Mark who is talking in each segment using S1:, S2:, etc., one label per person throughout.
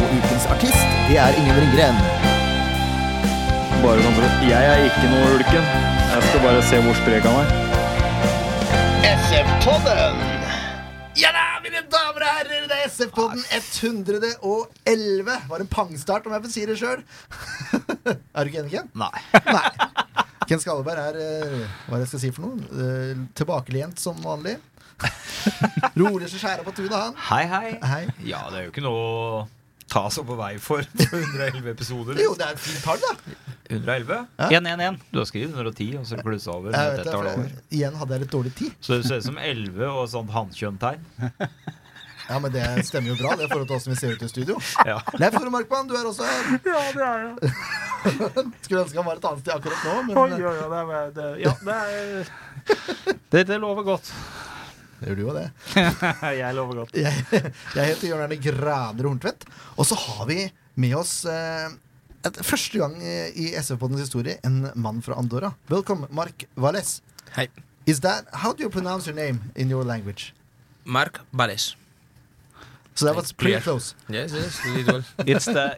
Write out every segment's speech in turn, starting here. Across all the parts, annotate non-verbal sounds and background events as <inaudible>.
S1: Og ukens artist, det er Ingen Ringgren.
S2: Bare sånn for at Jeg er ikke noe ulken. Jeg skal bare se hvor sprek han er.
S1: SF-podden! Ja da, mine damer og herrer, det er SF-podden 111. Var en pangstart, om jeg får si det sjøl. <laughs> er du ikke enig, Ken? Nei. Ken Skalleberg er eh, hva er det jeg skal si for noe? Eh, tilbakelent som
S3: <laughs>
S1: vanlig. Rolig som skjæra på tunet, han.
S3: Hei, hei.
S1: Hei.
S3: Ja, det er jo ikke noe å ta seg på vei for på 111 episoder.
S1: Jo, det er et fint tall, da.
S3: 111?
S1: Ja.
S3: 111. Du har skrevet 110, og så har du klussa over.
S1: Jeg vet
S3: et
S1: det,
S3: tall
S1: for
S3: over.
S1: igjen hadde jeg litt dårlig tid.
S3: Så det ser ut som 11 og sånt hannkjønntegn.
S1: Ja, men det stemmer jo bra, det i forhold til åssen vi ser ut i studio.
S3: Ja.
S1: Leif Tore Markmann, du er også her. Ja, det er jeg. <laughs> Skulle ønske han var et annet sted akkurat nå, men
S4: Ja, det er Dette lover godt.
S1: eh, det gjør du jo det.
S4: Jeg lover godt.
S1: Jeg, <laughs> jeg heter Jørn Erne Graner Horntvedt, og så har vi med oss eh, et, første gang eh, i SV-poddens historie en mann fra Andorra. Velkommen, Mark Valles.
S5: Hei.
S1: Is that How do you pronounce your name in your language?
S5: Mark Valles.
S1: So that was pretty
S5: Clear.
S1: close.
S5: Yes, yes, you did well.
S2: It's the,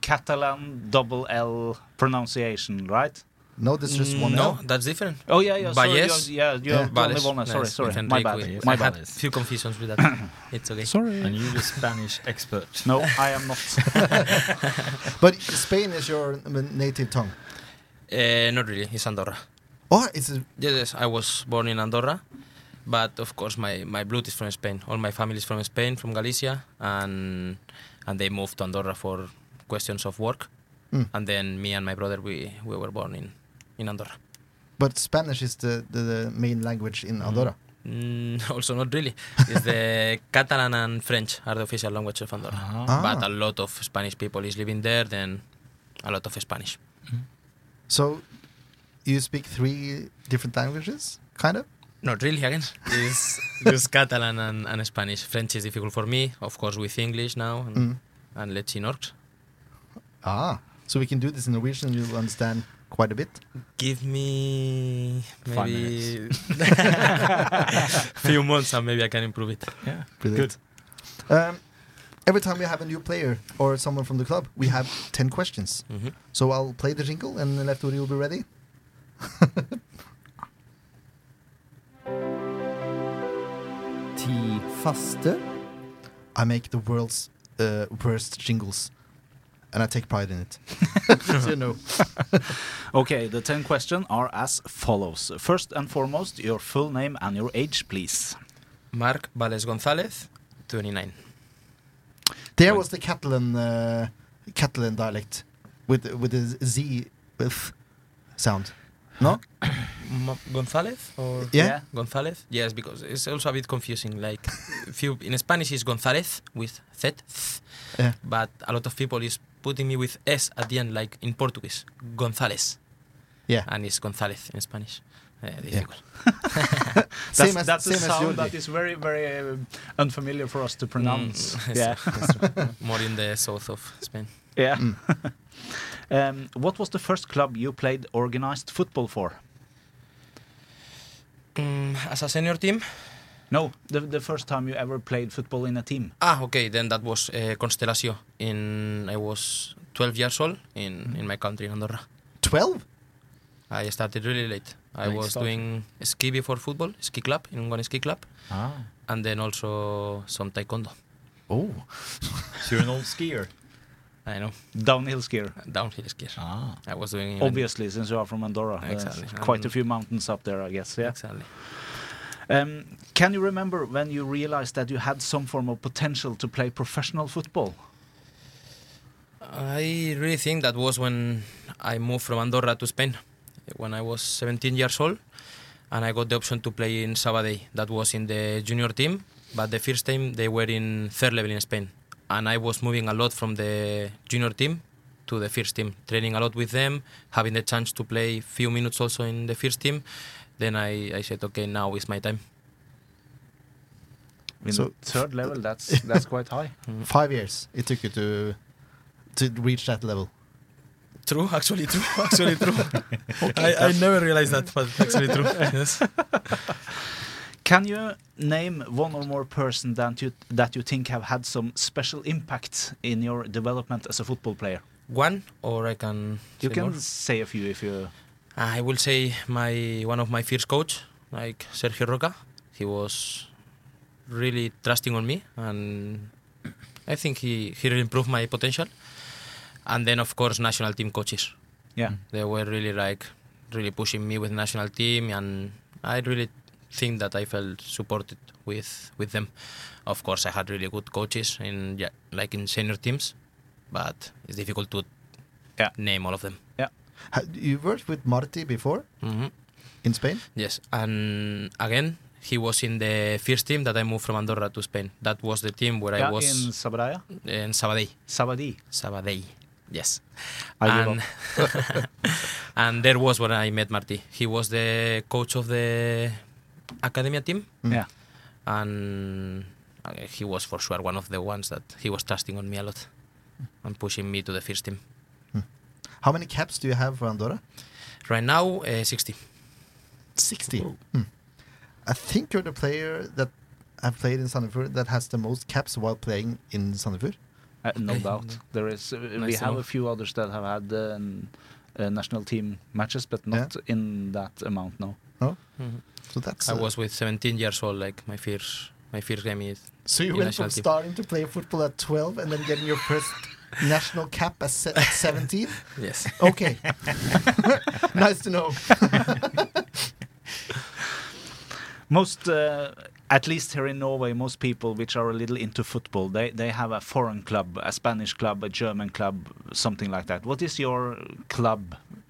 S2: Catalan double L pronunciation, right?
S1: No, there's just one
S5: no,
S1: L.
S5: that's different.
S2: Oh, yeah, yeah. Sorry,
S5: Valles.
S2: you have- yeah, you have
S5: Valles.
S2: only one. Sorry,
S5: Yes,
S2: sorry.
S5: with
S2: My
S5: Enrique.
S2: bad.
S5: We-
S2: My
S5: I
S2: bad.
S5: had few confusions
S2: <coughs>
S5: with that. it's okay.
S2: Sorry.
S3: And you're the Spanish expert.
S2: No, I am not.
S1: But Spain is your um, native tongue.
S5: Uh, not really. It's Andorra.
S1: Oh, it's a,
S5: Yes, yes, I was born in Andorra, but of course my, my blood is from Spain. All my family is from Spain, from Galicia, and and they moved to Andorra for questions of work.
S2: Hmm.
S1: Mm.
S5: And then me and my brother we, we were born in, in Andorra.
S1: but Spanish is the, the, the main language in Andorra.
S5: Mm, <laughs> also, not really. It's
S2: <laughs>
S5: the Catalan and French are the official language of Andorra. But
S1: Ah.
S5: a lot of Spanish people is living there, then a lot of Spanish.
S1: So you speak three different languages, kind of?
S5: Not really, again. <laughs> It's just Catalan and, and Spanish. French is difficult for me, of course, with English now, and,
S1: Mm.
S5: and let's see Norse.
S1: Ah, so we can do this in Norwegian. You'll understand quite a bit.
S5: Give me
S3: Five
S5: maybe <laughs> few months and maybe I can improve it.
S1: Brilliant. Good. Um, every time we have a new player or someone from the club, we have ten questions.
S5: Mhm.
S1: So I'll play the jingle, and left Uri will be <laughs> ready.
S6: Ti faste.
S1: I make the world's uh, worst jingles, and I take pride in it. <laughs> so you know.
S2: Okay, the 10 questions are as follows. First and foremost, your full name and your age, please.
S5: Mark Valles Gonzalez, 29.
S1: There was the Catalan uh, Catalan dialect with with the Z with sound. No.
S5: Mo- Gonzalez or
S1: Yeah.
S5: Gonzalez? Yes, because it's also a bit confusing. Like, few in Spanish is Gonzalez with Z, th,
S1: Yeah.
S5: but a lot of people is putting me with S at the end, like in Portuguese, Gonzalez,
S1: Yeah.
S5: and it's Gonzalez in Spanish. Eh, difficult.
S1: Same
S2: that's
S1: as-
S2: that's a
S1: same as
S2: sound
S1: Jordi.
S2: that is very, very uh, unfamiliar for us to pronounce.
S5: Mm, <laughs>
S2: yeah.
S5: More in the south of Spain. <laughs>
S2: yeah.
S1: Mm.
S2: um, what was the first club you played organized football for?
S5: Mm, as a senior team,
S2: No, the, the first time you ever played football in a team.
S5: Ah, okay. Then that was uh, Constellacio. In I was 12 years old in in my country in Andorra.
S1: Twelve.
S5: I started really late. I
S2: Late
S5: was
S2: start.
S5: doing ski before football, ski club in one ski club,
S3: Ah.
S5: and then also some taekwondo.
S1: Oh.
S3: So you're an old skier.
S5: I know <laughs>
S2: Downhill skier,
S5: downhill ski.
S3: Ah.
S5: I was doing even-
S2: obviously, since you are from Andorra. There's
S5: Exactly.
S2: Quite a
S5: And-
S2: few mountains up there, I guess. Yeah.
S5: Exactly.
S2: Um, can you remember when you realized that you had some form of potential to play professional football?
S5: I really think that was when I moved from Andorra to Spain, when I was 17 years old, and I got the option to play in Sabadell. That was in the junior team, but the first time they were in third level in Spain, and I was moving a lot from the junior team to the first team, training a lot with them, having the chance to play few minutes also in the first team. Then I, I said, okay, now is my time.
S2: In
S7: So-
S2: the third level, <laughs> that's that's quite high.
S1: Five years it took you to to reach that level.
S5: True, actually true, actually true. I, I never realized that, but actually true. Yes.
S2: Can you name one or more person that you that you think have had some special impact in your development as a football player?
S5: One, or I can.
S2: You
S5: say
S2: can
S5: more?
S2: say a few if you.
S5: I will say my one of my first coach, like Sergio Roca, he was really trusting on me, and I think he he really improved my potential. And then of course national team coaches,
S2: Yeah.
S5: they were really like really pushing me with national team, and I really think that I felt supported with with them. Of course, I had really good coaches in yeah, like in senior teams, but it's difficult to
S2: Yeah.
S5: name all of them.
S1: Ha- You worked with Marti before
S5: hmm
S1: in Spain.
S5: Yes, and again, he was in the first team that I moved from Andorra to Spain. That was the team where
S2: Yeah,
S5: I
S2: in
S5: was
S2: Sabaraya,
S5: in, Sabadell.
S2: Sabadi.
S5: Sabadell, yes.
S2: I give
S5: and, <laughs> and there was when I met Martí. He was the coach of the academia team,
S1: Mm.
S2: Yeah.
S5: and uh, he was for sure one of the ones that he was trusting on me a lot and pushing me to the first team.
S1: How many caps do you have for Andorra?
S5: Right now, uh, 60.
S1: 60. Hmm. I think you're the player that have played in Sandefjord that has the most caps while playing in Sandefjord.
S2: Uh, no
S5: Okay.
S2: doubt. There is. Uh, we
S5: Nice to
S2: have
S5: know.
S2: a few others that have had uh, n- uh, national team matches, but not in that amount. No. Mm-hmm.
S1: So that's
S5: I
S1: uh,
S5: was with 17 years old, like my first my first game is
S1: So you
S5: in
S1: went
S5: national
S1: from
S5: team.
S1: starting to play football at 12 and then getting your first <laughs> national cap at se- at 17?
S5: Yes.
S1: <laughs> Okay. <laughs> nice to know.
S2: Most, uh, at least here in Norway, most people which are a little into football, they they have a foreign club, a Spanish club, a German club, something like that. What is your club,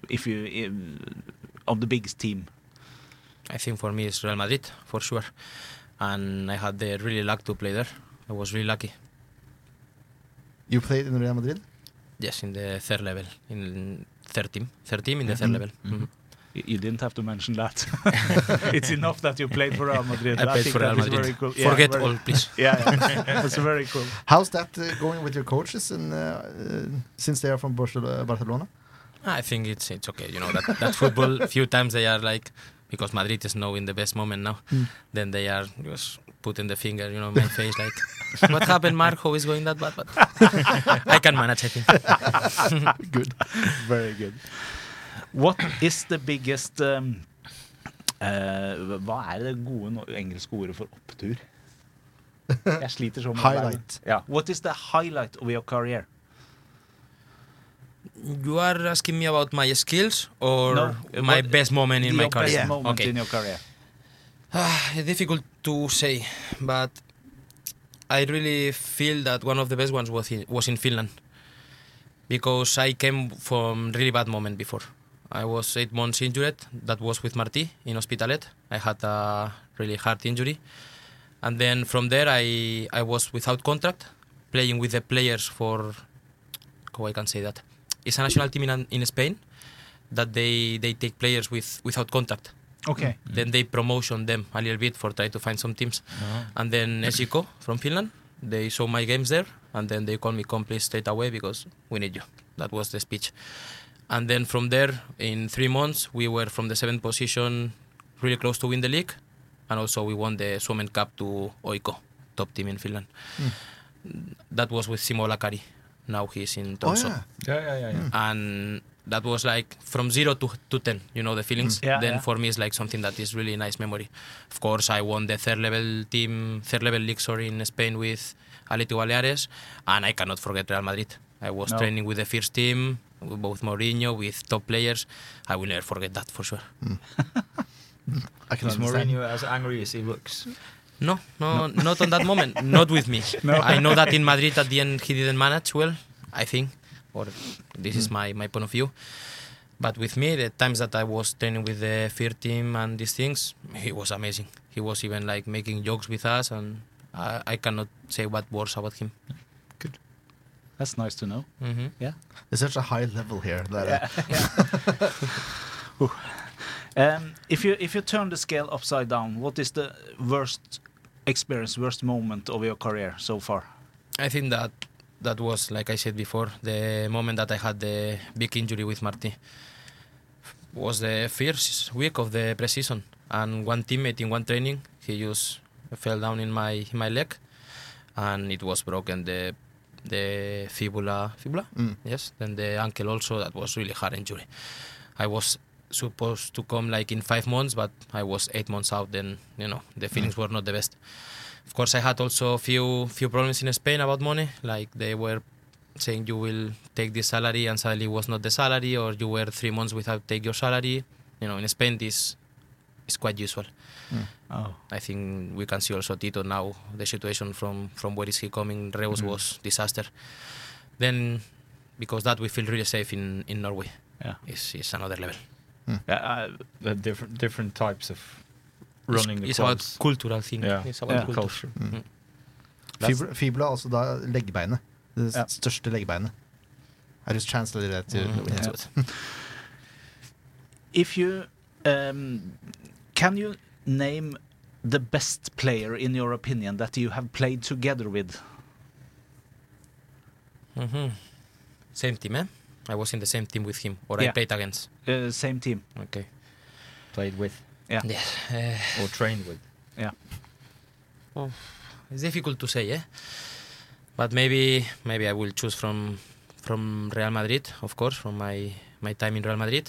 S2: if you, i- of the biggest team?
S5: I think for me it's Real Madrid for sure, and I had the really luck to play there. I was really lucky.
S1: You played in Real Madrid?
S5: Yes, in the third level, in third team, third team in the third level. Mhm.
S2: Y- You didn't have to mention that. <laughs> it's enough that you played for Real Madrid.
S5: I played
S2: think
S5: for Real
S2: that is
S5: Madrid.
S2: very cool. Yeah,
S5: Forget
S2: very-
S5: all, please.
S2: <laughs> Yeah, yeah. that's very cool.
S1: How's that uh, going with your coaches and uh, uh, since they are from Barcel- uh, Barcelona?
S5: I think it's it's okay. You know that that football. <laughs> few times they are like because Madrid is now in the best moment now. Then they are just putting the finger, you know, in my face like, what happened, Mark? How is going that bad? But <laughs> I can manage. I think.
S1: Good.
S2: Very good. What is the biggest um, eh, Hva er det gode no engelske ordet for opptur? Jeg sliter sånn med det.
S1: Highlight.
S2: Ja. What is the highlight of your career?
S5: You are asking me about my skills or
S2: No,
S5: my
S2: what-
S5: best moment in my
S2: your best
S5: career.
S2: moment
S5: okay.
S2: in your career.
S5: Ah, it's difficult to say, but I really feel that one of the best ones was in, was in Finland because I came from really bad moment before. I was eight months injured. That was with Martí in Hospitalet. I had a really hard injury, and then from there I I was without contract, playing with the players for how I can say that it's a national team in, in Spain that they they take players with without contract
S2: Okay.
S5: Mm. then they promotion them a little bit for try to find some teams
S1: Uh-huh.
S5: and then Esiko from Finland they saw my games there and then they called me come please straight away because we need you that was the speech and then from there in three months we were from the seventh position really close to win the league and also we won the Suomen Cup to Oiko top team in Finland that was with Simo Lakari now he's in
S1: Hmm. Oh,
S5: Tromsø
S1: yeah.
S3: Ja, ja, ja. ja.
S5: and that was like from zero to, to ten you know the feelings
S2: Mm. Yeah,
S5: then
S2: yeah.
S5: for me it's like something that is really nice memory of course i won the third level team third level league sorry in spain with Atletico Baleares and i cannot forget real madrid i was
S2: No.
S5: training with the first team with both Mourinho with top players i will never forget that for sure
S1: I can understand.
S3: Is Mourinho as angry as he looks?
S5: no no, <laughs> not on that moment not with me i know that in madrid at the end he didn't manage well i think or this is my, my point of view But with me, the times that I was training with the fear team and these things, he was amazing. He was even like making jokes with us, and I, I cannot say what words about him.
S3: Good.
S2: That's nice to know.
S5: Mhm.
S1: It's such a high level here. That, uh,
S2: <laughs> Um, if you if you turn the scale upside down, what is the worst experience, worst moment of your career so far?
S5: I think that that was, like I said before, the moment that I had the big injury with Marty. Was the first week of the preseason, and one teammate in one training, he just fell down in my in my leg, and it was broken the the fibula fibula.
S1: Mm.
S5: Yes, then the ankle also. That was really hard injury. I was supposed to come like in five months, but I was eight months out. Then you know the feelings were not the best. Of course, I had also a few few problems in Spain about money. Like they were saying you will take this salary, and suddenly it was not the salary, or you were three months without take your salary. You know, in Spain this is quite usual.
S1: mm,
S2: Oh,
S5: I think we can see also Tito now the situation from from where is he coming Reus was disaster. Then because that we feel really safe in in Norway.
S2: Yeah.
S5: It's, it's another level.
S3: Uh, uh, the different different types of
S5: It's-
S3: running the
S5: it's,
S3: clubs.
S5: about cultural thing.
S3: Yeah.
S5: It's about
S2: Yeah.
S5: culture.
S3: culture.
S1: mm. Mm-hmm.
S3: That's-
S1: fibula, fibula, er altså da leggbeinet. Det
S3: Ja.
S1: største leggbeinet. I just translated that to
S5: Mm, that's
S1: into
S5: what-
S2: <laughs> if you um, can you name the best player in your opinion that you have played together with?
S5: Mhm. Same team, eh? I was in the same team with him, or I
S2: Yeah.
S5: played against.
S2: Uh, same team.
S5: Okay.
S3: Played with
S5: Yes. Uh,
S3: or trained with.
S5: it's difficult to say, eh? But maybe maybe I will choose from from Real Madrid, of course, from my my time in Real Madrid,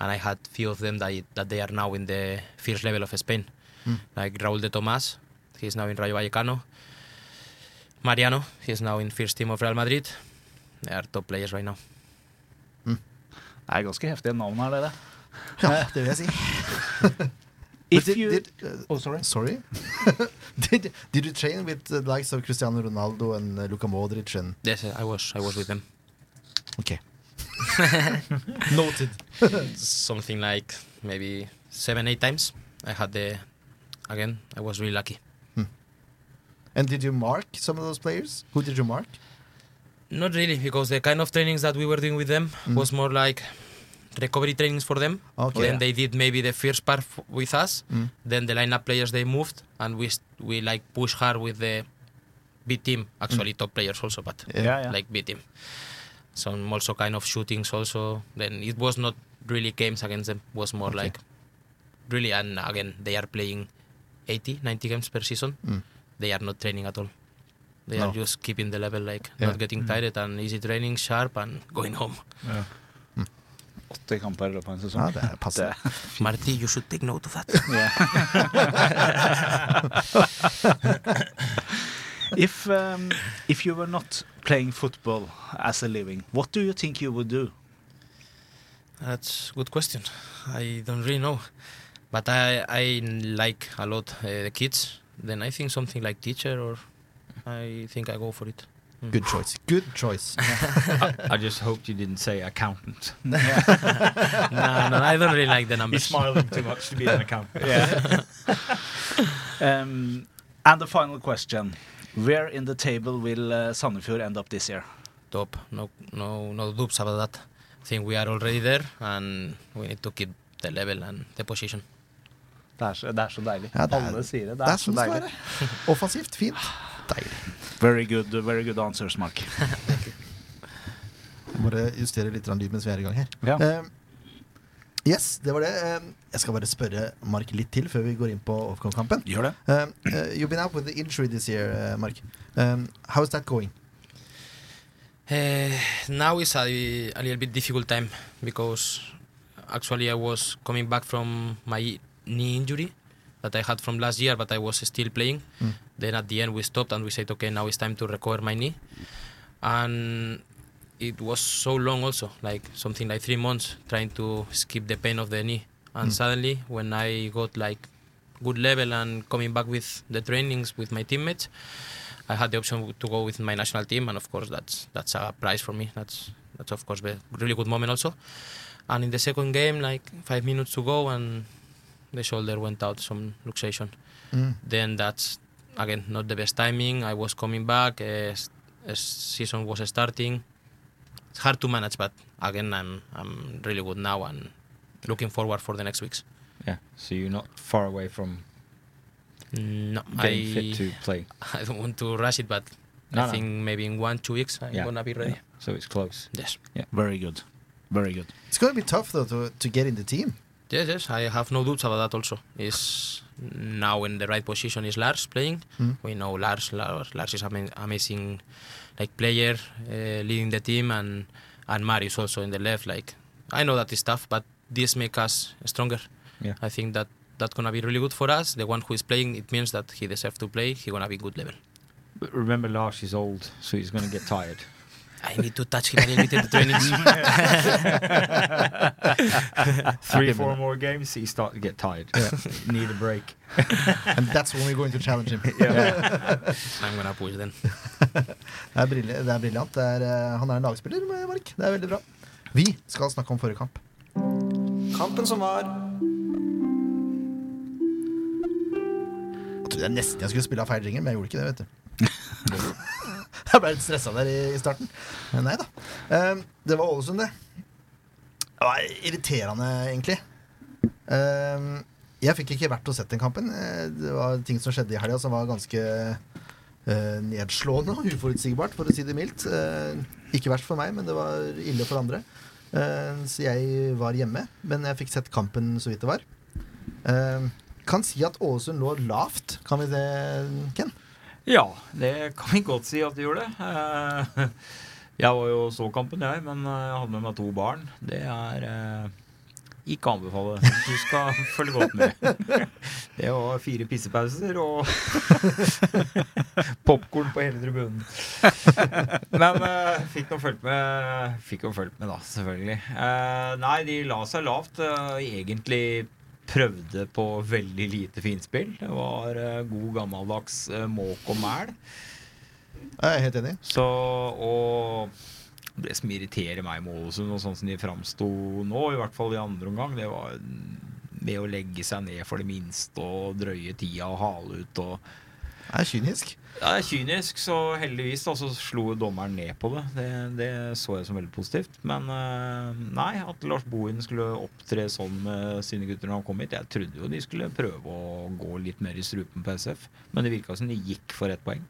S5: and I had few of them that I- that they are now in the first level of Spain,
S1: Mm.
S5: like Raúl de Tomás, he's now in Rayo Vallecano. Mariano, he's now in first team of Real Madrid. They are top players right now.
S2: Det er ganske heftige navn her, dere.
S1: Ja, det vil jeg si. But
S2: If
S1: did,
S2: you,
S1: did, uh,
S2: oh, sorry.
S1: sorry. <laughs> did, did you train with the likes of Cristiano Ronaldo and uh, Luka Modric and
S5: Yes, I was I was with them.
S1: Okay.
S3: Noted.
S5: something like maybe seven, eight times. I had the again. I was really lucky.
S1: And did you mark some of those players? Who did you mark?
S5: Not really, because the kind of trainings that we were doing with them
S1: Mhm.
S5: was more like recovery trainings for them.
S1: Okay.
S5: Then they did maybe the first part f- with us.
S1: Mm.
S5: Then the lineup players they moved, and we s- we like push hard with the B team. Actually, top players also, but
S1: Mm. Yeah.
S2: Yeah, yeah.
S5: like B team. Some also kind of shootings also. Then it was not really games against them. Was more
S1: Okay.
S5: like really and again they are playing 80, 90 games per season.
S1: Mm.
S5: They are not training at all. They
S1: No.
S5: are just keeping the level like
S1: Yeah.
S5: not getting tired and easy training, sharp and going <laughs> home.
S2: Åtte kamper i løpet av en
S1: Ja,
S2: sesong. <laughs>
S1: det er passende.
S5: Marty, you should take note of that.
S2: if um, if you were not playing football as a living, what do you think you would <laughs> do?
S5: That's a good question. I don't really know, but I I like a lot uh, the kids. Then I think something like teacher or I think I go for it. <laughs>
S1: Good choice. Good choice.
S3: I just hoped you didn't say accountant.
S5: no, no, I don't really like the
S3: He's
S5: numbers.
S3: smiling too much to be an accountant.
S2: <laughs> Um, and the final question: Where in the table will uh, Sandefjord end up this year?
S5: Top, no, no, no doubts about that. I think we are already there, and we need to keep the level and the position.
S2: Det er så, det er så deilig.
S1: Ja, det er-
S2: Alle sier det. Det
S1: Det
S2: er,
S1: er
S2: så
S1: sånn det skal
S2: deilig.
S1: være. Offensivt, fint. Deilig.
S2: Very good, very good answers, Mark.
S1: Jeg Bare justere litt grann lyd mens vi er i gang her.
S2: Ja.
S1: Eh, yes, det var det. Eh, jeg skal bare spørre Mark litt til før vi går inn på Overcom-kampen.
S2: Gjør det.
S1: Um, uh, you've been out with the injury this year, uh, Mark. Um, how is that going?
S5: Eh, now is a, a little bit difficult time because actually I was coming back from my knee injury that I had from last year, but I was still playing.
S1: Mm.
S5: Then at the end we stopped and we said, okay, now it's time to recover my knee, and it was so long also, like something like three months trying to skip the pain of the knee, and suddenly when I got like good level and coming back with the trainings with my teammates I had the option to go with my national team, and of course that's that's a prize for me. That's that's of course a really good moment also. And in the second game, like five minutes to go, and the shoulder went out some luxation.
S1: Mm.
S5: Then that's again not the best timing. I was coming back. Uh, s- as season was starting. It's hard to manage, but again, I'm I'm really good now and looking forward for the next weeks.
S6: Yeah, so you're not far away from
S5: No,
S6: Mm, getting
S5: I
S6: fit to play.
S5: <laughs> I don't want to rush it, but
S6: No,
S5: I
S6: no.
S5: think maybe in one two weeks I'm
S6: Yeah.
S5: gonna be ready.
S6: Yeah, So it's close.
S5: Yes,
S2: Very good. Very good.
S1: It's going to be tough, though, to, to get in the team.
S5: yes, yes. I have no doubts about that. Also, is now in the right position is Lars playing.
S1: Hmm?
S5: We know Lars. Lars, Lars is ama- amazing, like player uh, leading the team, and and Marius also in the left. Like I know that is tough, but this make us stronger.
S6: Yeah.
S5: I think that that's gonna be really good for us. The one who is playing, it means that he deserves to play. He gonna be good level.
S6: But remember, Lars is old, so he's going to get <laughs> tired.
S5: I need to touch him a little bit in the trainings.
S6: Three, four more games, he starts to get tired. Need a break.
S1: And that's when we're going to challenge him.
S5: <laughs> I'm gonna push then.
S1: Det er, brille, det er briljant. Det er, eh, han er en lagspiller, eh, Mark. Det er veldig bra. Vi skal snakke om forrige kamp.
S3: Kampen som var
S1: Jeg trodde jeg nesten jeg skulle spille av feil ringer, men jeg gjorde ikke det, vet du. <laughs> jeg ble litt stressa der i, i starten. Men nei da. Eh, det var Ålesund, det. Det var irriterende, egentlig. Eh, jeg fikk ikke vært og sett den kampen. Eh, det var ting som skjedde i helga som var ganske eh, nedslående og uforutsigbart, for å si det mildt. Eh, ikke verst for meg, men det var ille for andre. Eh, så jeg var hjemme, men jeg fikk sett kampen så vidt det var. Eh, kan si at Ålesund lå lavt. Kan vi det, Ken?
S3: Ja, det kan vi godt si at det gjorde. Eh, Jeg var jo og så kampen, jeg, men eh, jeg hadde med meg to barn. Det er eh, ikke å anbefale. Du skal følge godt med. Det var fire pissepauser og popkorn på hele tribunen. Men eh, fikk nå fulgt med, Fikk jo fulgt med da, selvfølgelig. Eh, nei, de la seg lavt. eh, egentlig prøvde på veldig lite finspill. Det var eh, god gammeldags eh, måk og mæl.
S1: Jeg er helt enig.
S3: Så, og det som irriterer meg med Ålesund, og sånn som de framsto nå, i hvert fall i andre omgang, det var med å legge seg ned for det minste og drøye tida og hale ut og
S1: Jeg er kynisk.
S3: ja, det er kynisk, så heldigvis da, så slo dommeren ned på det. det. Det så jeg som veldig positivt. Men eh, nei, at Lars Bohin skulle opptre sånn med sine gutter når han kom hit Jeg trodde jo de skulle prøve å gå litt mer i strupen på SF, men det virka som de gikk for ett poeng.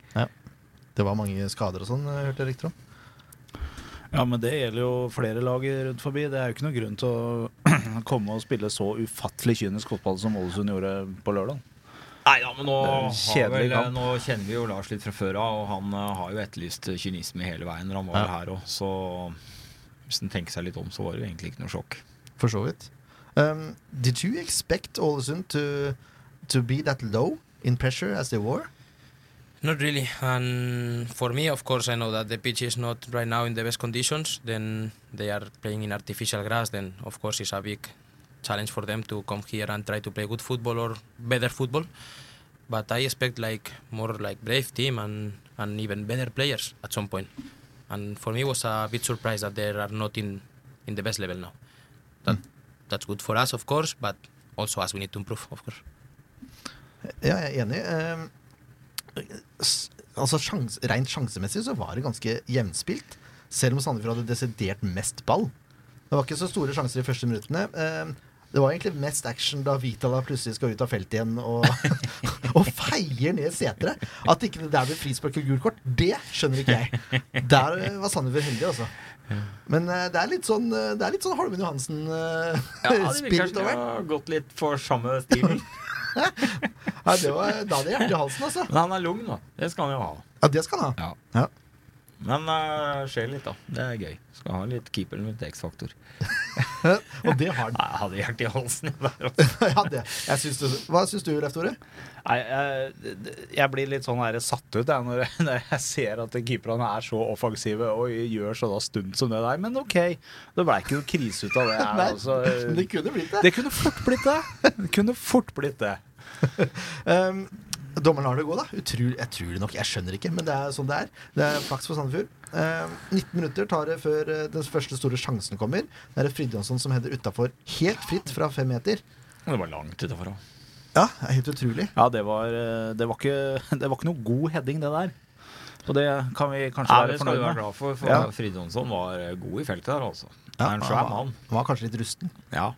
S1: Det var mange skader og sånn, eh, hørte jeg rykter om.
S2: Ja, men det gjelder jo flere lag rundt forbi. Det er jo ikke noe grunn til å <clears throat> komme og spille så ufattelig kynisk fotball som Ålesund gjorde på lørdag.
S3: Nei da, men nå,
S2: Det er en
S3: har
S2: kjedelig
S3: vel, eh,
S2: kamp.
S3: nå kjenner vi jo Lars litt fra før av, og han eh, har jo etterlyst kynisme hele veien når han var her òg, så hvis han tenker seg litt om, så var det jo egentlig ikke noe sjokk.
S1: For så vidt. Um, did you expect Ålesund to, to be that low in pressure as they were?
S5: Not really. And for me, of course, I know that the pitch is not right now in the best conditions. Then they are playing in artificial grass. Then, of course, it's a big challenge for them to come here and try to play good football or better football. But I expect like more like brave team and, and even better players at some point. And for me, it was a bit surprised that they are not in, in the best level now. That that's good for us, of course, but also us we need to improve, of course.
S1: Ja, jeg er enig. Um, s- altså sjans, Rent sjansemessig så var det ganske jevnspilt. Selv om Sandefjord hadde desidert mest ball. Det var ikke så store sjanser de første minuttene. Um, det var egentlig mest action da Vitala plutselig skal ut av feltet igjen og, <laughs> og feier ned setere. At ikke det der blir frispark og gult kort, det skjønner ikke jeg. Der eh, var Sandefjord heldig, altså. Men eh, det er litt sånn, eh, det er litt sånn Holmen eh,
S3: Ja, det virker
S1: Johansen-spirit
S3: som de
S1: over den.
S3: har gått litt for samme stilen.
S1: Ja, det var, da hadde jeg hjerte i halsen, altså.
S3: <laughs> Men han er lugn, da. Det skal han jo ha.
S1: Ja, det skal han ha.
S3: Men uh, skjer litt, da. Det er gøy. Skal ha litt keeper med litt X-faktor.
S1: <laughs> Og det har
S3: Nei, jeg hadde hjertet i halsen. jeg der altså. også.
S1: ja, det. Jeg syns det, hva syns du, Leif Tore?
S2: Nei, jeg, jeg blir litt sånn her satt ut jeg, <laughs> når, jeg, når jeg ser at keeperne er så offensive og gjør sånne stunt som det der. Men OK, det ble ikke noe krise ut av
S3: <laughs>
S2: det. her,
S1: Nei,
S2: altså.
S1: <laughs> Det kunne blitt det.
S2: Det kunne fort blitt det. Det kunne fort blitt det.
S1: Um, dommeren lar det gå, da. Utrul, jeg tror det nok. Jeg skjønner ikke, men det er sånn det er. Det er flaks for Sandefjord. Um, 19 minutter tar det før eh, den første store sjansen kommer. Det er det Fridtjonsson som header utafor helt fritt fra fem meter.
S3: Men Det var langt utafor òg.
S1: Ja, det er helt utrolig.
S2: <laughs> Ja, det var, eh, det var, ikke, det var ikke noe god heading, det der. Og det kan vi kanskje
S3: Ja,
S2: være
S3: det skal du
S2: fornøyd
S3: være
S2: med.
S3: glad for, for
S2: Ja.
S3: Fridtjonsson var eh, god i feltet der, altså. Det
S7: Ja,
S3: er en
S7: han
S3: svær
S7: var-
S3: mann.
S1: Han var kanskje litt rusten.
S3: Ja.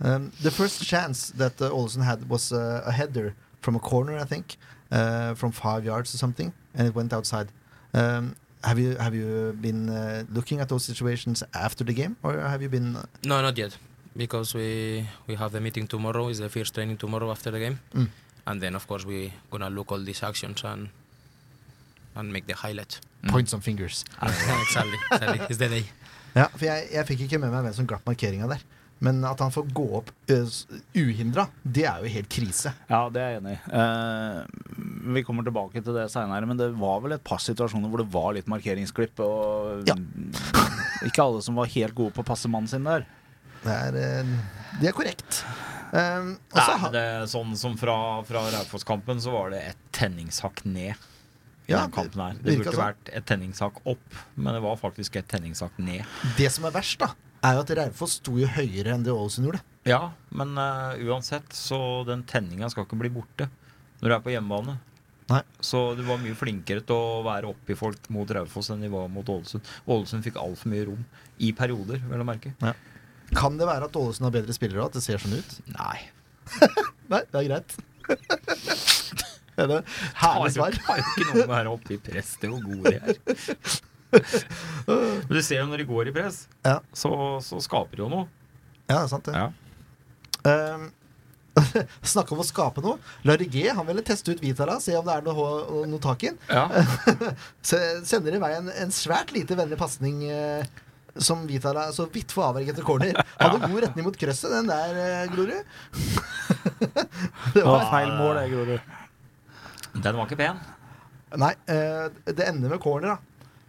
S1: Um, the first chance that uh, Olsen had was uh, a header from a corner, I think, uh, from five yards or something, and it went outside. Um, have you have you been uh, looking at those situations after the game, or have you been? uh,
S5: No, not yet, because we we have the meeting tomorrow. It's the first training tomorrow after the game,
S1: Mm.
S5: and then of course we gonna look all these actions and and make the highlights.
S3: Mm.
S1: Points on fingers. Ah.
S5: <laughs> exactly, exactly. It's the day.
S1: Ja, for jeg, jeg fikk ikke med meg hvem som glapp markeringa der. Men at han får gå opp uh, s- uhindra, det er jo helt krise.
S2: Ja, det er jeg enig i. Eh, vi kommer tilbake til det seinere, men det var vel et par situasjoner hvor det var litt markeringsklipp, og
S1: Ja.
S2: <laughs> ikke alle som var helt gode på å passe mannen sin der.
S1: Det er, uh, det er korrekt. Um, og så
S3: Nei,
S1: ha-
S3: men det, er sånn som fra, fra Raufoss-kampen, så var det et tenningshakk ned. I
S1: Ja,
S3: den kampen her. Det
S1: det virka
S3: burde
S1: sånn.
S3: vært et tenningshakk opp, men det var faktisk et tenningshakk ned.
S1: det som er verst, da, er jo at Raufoss sto jo høyere enn det Ålesund gjorde.
S3: Ja, men eh, uansett, så den tenninga skal ikke bli borte når du er på hjemmebane.
S1: Nei.
S3: Så du var mye flinkere til å være oppi folk mot Raufoss enn de var mot Ålesund. Ålesund fikk altfor mye rom. I perioder, vel å merke.
S1: Kan det være at Ålesund har bedre spillere, og at det ser sånn ut?
S3: Nei.
S1: Nei, det er greit. <laughs> Det er det herlig svar.
S3: har jo ikke noe med å være oppe i press. Det er hvor gode
S1: <laughs>
S3: de er. Men du ser jo når de går i press,
S1: Ja.
S3: så, så skaper de jo noe.
S1: Ja, det er sant det.
S3: Ja.
S1: <laughs> Um, Snakke om å skape noe. Larry G han ville teste ut Vitala, se om det er noe, hå- noe tak i den. <laughs> Se- Sender i vei en, en svært lite vennlig pasning eh, som Vitala så vidt får avverget etter
S3: <laughs>
S1: corner. Hadde god retning mot krøsset, den der, eh, Grorud. det
S2: Det
S1: var
S2: var feil mål, det, Grorud.
S3: Den var ikke pen.
S1: Nei, eh, det ender med corner, da.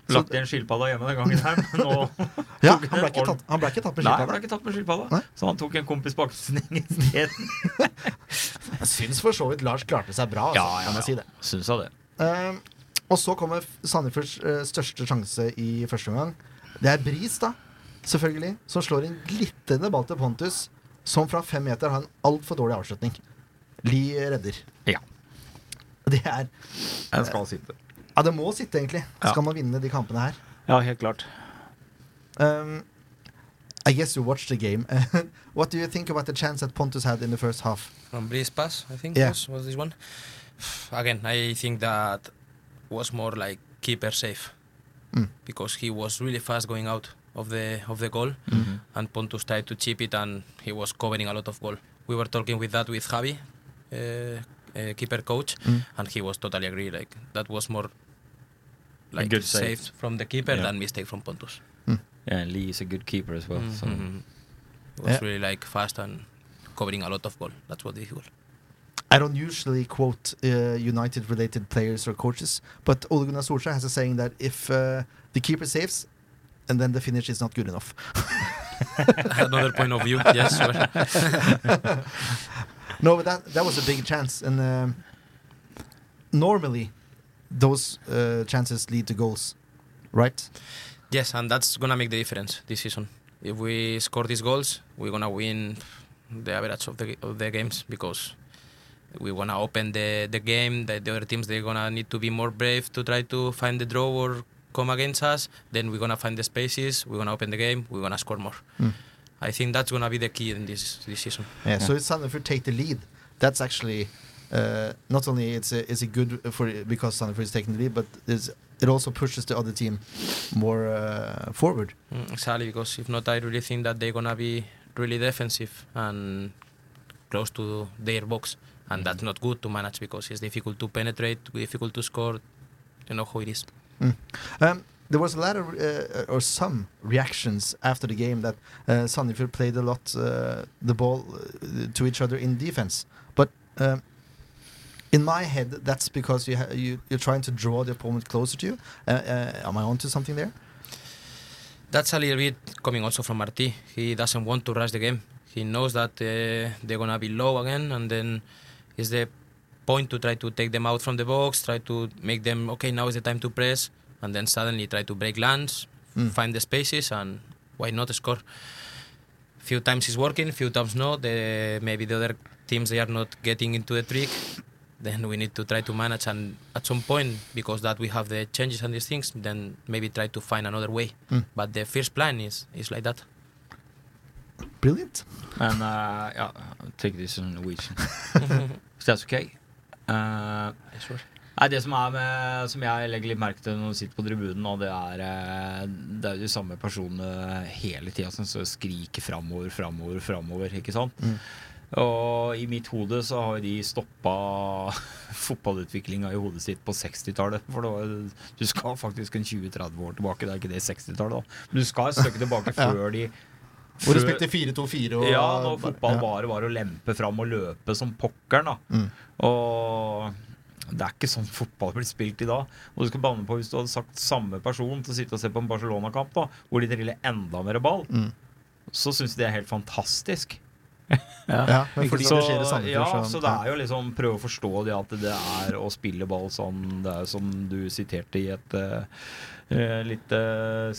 S1: Så-
S3: Lagt igjen skilpadda hjemme den gangen her, men nå
S1: Ja,
S3: Tok
S1: han ble
S3: en
S1: ikke
S3: ordent-
S1: tatt, han ble ikke tatt med
S3: Nei, han ble
S1: skilpadda.
S3: ikke tatt med skilpadda.
S1: Nei.
S3: Så han tok en kompis baksneng isteden.
S1: Jeg syns for så vidt Lars klarte seg bra, altså,
S3: Ja, ja,
S1: kan jeg
S3: ja.
S1: si det.
S3: Syns jeg det.
S1: Eh, og så kommer Sandefjords eh, største sjanse i første omgang. Det er Bris, da, selvfølgelig, som slår en glitrende ball til Pontus, som fra fem meter har en altfor dårlig avslutning. Li redder.
S3: Ja.
S1: Det er
S3: <laughs> Jeg skal sitte.
S1: Ja, det må sitte, egentlig, skal man vinne de kampene her.
S2: Ja, helt klart.
S1: Um, I guess you watched the game. <laughs> What do you think about the chance that Pontus had in the first half?
S5: From Breeze Pass, I think
S1: Yeah.
S5: was, was this one. Again, I think that was more like keeper safe
S1: Mm.
S5: because he was really fast going out of the of the goal,
S3: Mm-hmm.
S5: and Pontus tried to chip it, and he was covering a lot of goal. We were talking with that with Javi, uh, uh, keeper coach,
S1: Mm.
S5: and he was totally agree. Like that was more like
S3: good save.
S5: safe from the keeper
S3: Yeah.
S5: than mistake from Pontus.
S1: mm.
S3: Yeah, and Lee is a good keeper altså. as well. so-
S5: Mhm. It was
S1: Yeah.
S5: really like fast and covering a lot of goal. That's what difficult.
S1: I don't usually quote uh, United related players or coaches, but Ole Gunnar Solskjaer has a saying that if uh, the keeper saves, and then the finish is not good enough.
S5: <laughs>
S1: <laughs>
S5: Another point of view. Yes, sure.
S1: No, but that that was a big chance, and um, normally those uh, chances lead to goals, right?
S5: Yes, and that's gonna make the difference this season. If we score these goals, we're gonna win the average of the of the games because we wanna open the the game. The, the other teams they're gonna need to be more brave to try to find the draw or come against us. Then we're gonna find the spaces. We're gonna open the game. We're gonna score more.
S1: Mm.
S5: I think that's gonna be the key in this this season.
S1: Yeah. So it's Sandefjord take the lead. That's actually uh, not only it's a, it's a good for because Sandefjord is taking the lead, but it's, it also pushes the other team more uh, forward.
S5: Mm, Exactly, because if not, I really think that they're gonna be really defensive and close to their box, and that's not good to manage because it's difficult to penetrate, difficult to score. You know how it is.
S1: Um, there was a lot of, uh, or some reactions after the game that uh, Sandefjord played a lot uh, the ball uh, to each other in defense. But um, in my head, that's because you, ha- you you're trying to draw the opponent closer to you. Uh, uh, am I onto something there?
S5: That's a little bit coming also from Martí. He doesn't want to rush the game. He knows that uh, they're gonna be low again, and then is the point to try to take them out from the box, try to make them okay. Now is the time to press, and then suddenly try to break lands,
S1: Mm.
S5: find the spaces, and why not score? Few times it's working, few times not. The, maybe the other teams they are not getting into the trick, then we need to try to manage and at some point because that we have the changes and these things then maybe try to find another way
S7: Mm.
S5: but the first plan is is like that
S7: Brilliant.
S3: And uh, yeah, take this in Norwegian. <laughs> If that's okay. Uh,
S5: Sure.
S3: Nei, Det som er med, som jeg legger litt merke til når du sitter på tribunen, og det er eh, Det er jo de samme personene hele tida som står og skriker framover, framover, framover. Ikke sant? Og i mitt hode så har de stoppa <laughs> fotballutviklinga i hodet sitt på 60-tallet. For det var, du skal faktisk en 20-30 år tilbake, det er ikke det 60-tallet, da. Men du skal et stykke <laughs> tilbake før de
S1: Og respekt til 4-2-4 og
S3: ja, når fotball
S1: Ja.
S3: bare var å lempe fram og løpe som pokkeren. da
S7: Mm.
S3: Og det er ikke sånn fotball blir spilt i dag. Og du skal banne på hvis du hadde sagt samme person til å sitte og se på en Barcelona-kamp, da hvor de driller enda mer ball,
S7: Mm.
S3: så syns de det er helt fantastisk.
S1: Ja, men fordi
S3: så,
S1: det skjer i Sandefjord,
S3: ja,
S1: så-
S3: så det er jo liksom prøve å forstå det at det er å spille ball sånn Det er jo som du siterte i et eh, eh, lite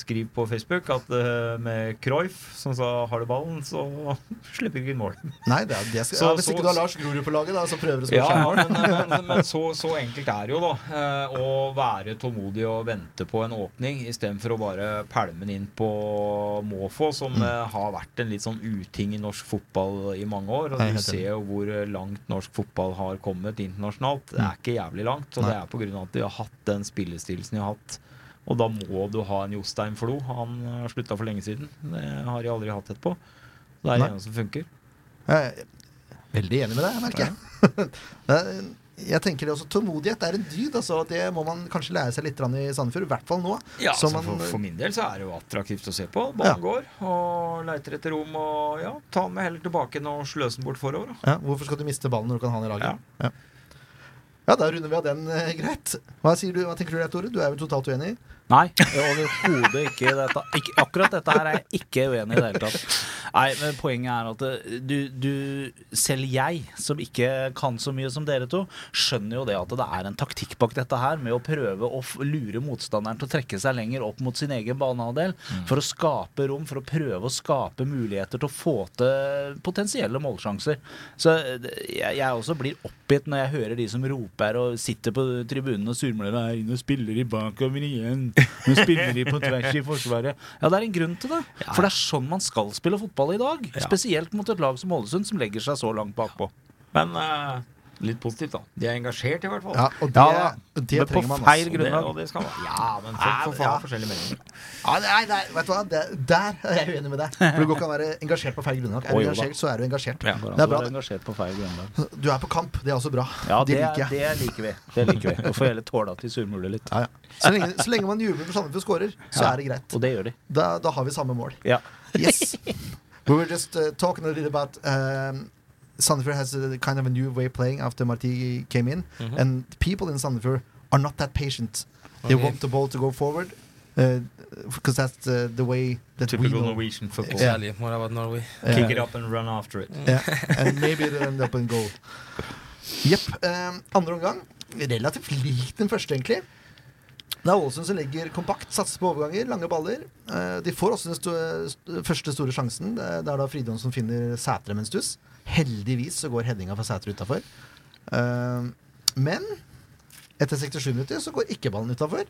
S3: skriv på Facebook, at eh, med Cruyff, som sa 'har du ballen', så <laughs> slipper du ikke inn mål.
S1: Nei, det er, det skal,
S3: Så-
S1: ja, hvis
S3: så-
S1: ikke du har Lars Grorud på laget, da, så prøver du å spørre.
S3: Ja, men, men, men så, så enkelt er det jo, da. eh, Å være tålmodig og vente på en åpning istedenfor å bare pælme den inn på måfå, som eh, har vært en litt sånn uting i norsk fotball i mange år.
S7: Nei,
S3: Og du
S7: helt enig.
S3: ser jo hvor eh, langt norsk fotball har kommet internasjonalt. Det er ikke jævlig langt, og det er på grunn av at de har hatt den spillestilsen de har hatt. Og da må du ha en Jostein Flo. Han har slutta for lenge siden. Det har de aldri hatt etterpå. Det er
S7: Nei.
S3: det eneste som funker.
S1: Jeg er veldig enig med deg, merker jeg. <laughs> Det er- jeg tenker det også, Tålmodighet er en dyd. altså Det må man kanskje lære seg litt grann i Sandefjord. I hvert fall nå.
S3: Ja,
S1: så
S3: altså,
S1: man,
S3: for, for min del så er det jo attraktivt å se på.
S1: Ja.
S3: Ballen går og leiter etter rom. Og ja, ta den med heller tilbake enn å sløse den bort forover. da.
S1: ja, hvorfor skal du miste ballen når du kan ha den i
S3: Ja.
S1: laget? Ja. Ja, Da runder vi av den eh, greit. Hva, sier du, hva tenker du der, Tore? Du er vel totalt uenig?
S2: Nei, overhodet ikke. Dette. ikke. Akkurat dette her er jeg ikke uenig i det hele tatt. Nei, men Poenget er at eh, du, du Selv jeg, som ikke kan så mye som dere to, skjønner jo det at det er en taktikk bak dette her med å prøve å f- lure motstanderen til å trekke seg lenger opp mot sin egen banehalvdel for å skape rom, for å prøve å skape muligheter til å få til potensielle målsjanser. Så eh, jeg, jeg også blir oppgitt når jeg hører de som roper og sitter på tribunen og surmler og er inne og spiller i bakover igjen. Nå spiller de på tvers i Forsvaret. Ja, det er en grunn til det. For det er sånn man skal spille fotball i dag. Spesielt mot et lag som Ålesund, som legger seg så langt bakpå.
S3: Men eh, litt positivt, da. De er engasjert, i hvert fall.
S1: Ja, og det,
S2: Ja,
S1: det
S2: Men på
S1: trenger man
S2: feil
S3: Og
S1: også.
S3: det,
S2: grunnlag.
S3: og det skal man. Ja, men folk får faen
S1: Ja.
S3: forskjellige meninger.
S1: Ja, nei, nei, vet du hva? Det, der er jeg uenig med deg. For Du går ikke an å være engasjert på feil grunnlag. Er
S2: Å,
S1: du
S2: jo da.
S1: engasjert, så er du engasjert.
S3: Ja.
S2: Går an
S1: Det er
S2: å
S1: bra,
S2: være
S1: det.
S2: engasjert på feil grunnlag.
S1: Du er på kamp, det er også bra.
S2: Ja, det,
S1: det liker jeg.
S2: det liker vi. Det liker vi. Og får heller tåle at de surmuler litt.
S1: Ja, ja. Så, lenge, så lenge man jubler når Sandefjord scorer, så er det greit.
S2: Og det gjør de.
S1: Da, da har vi samme mål.
S2: Ja.
S1: Yes. <laughs> we were just uh, talking a little about um, Sandefjord has a kind of a new way of playing after Marti came in, and the people in Sandefjord are not that patient. They
S5: Okay.
S1: want the ball to go forward because that's the, the way that we
S3: Typical
S1: know.
S3: Norwegian football.
S1: Yeah.
S5: Exactly. More about Norway. <laughs>
S1: Yeah.
S3: Kick it up and run after it.
S1: Yeah. <laughs> And maybe it'll end up in goal. Jepp. Um, andre omgang. Relativt lik den første, egentlig. Det er Ålesund som legger kompakt, satser på overganger, lange baller. Eh, De får også den sto st første store sjansen. Det er det er da Fridtjof som finner Sætre med en stuss. Heldigvis så går headinga fra Sætre utafor. Eh, Men etter 67 minutter så går ikke ballen utafor.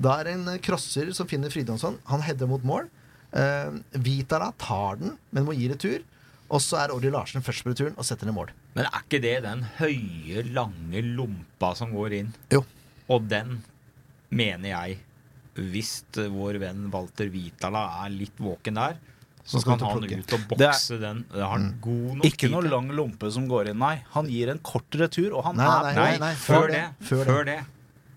S1: Da er det en eh, crosser som finner Fridtjonsson. Han header mot mål. Eh, Vitala tar den, men må gi retur. Og så er Ordi Larsen først på returen og setter den i mål.
S3: Men er ikke det den høye, lange lompa som går inn?
S1: Jo.
S3: Og den mener jeg Hvis eh, vår venn Walter Vitala er litt våken der, så
S1: Så
S3: skal
S1: skal
S3: han
S1: du plukke.
S3: ut og
S2: Det er-
S3: bokse den. Det har han god nok
S2: Ikke
S3: tid
S2: noe
S3: til.
S2: lang lompe som går inn, nei. Han gir en kort retur, og han
S1: Nei,
S2: er
S1: nei,
S3: Nei,
S1: nei,
S3: før det. Før det.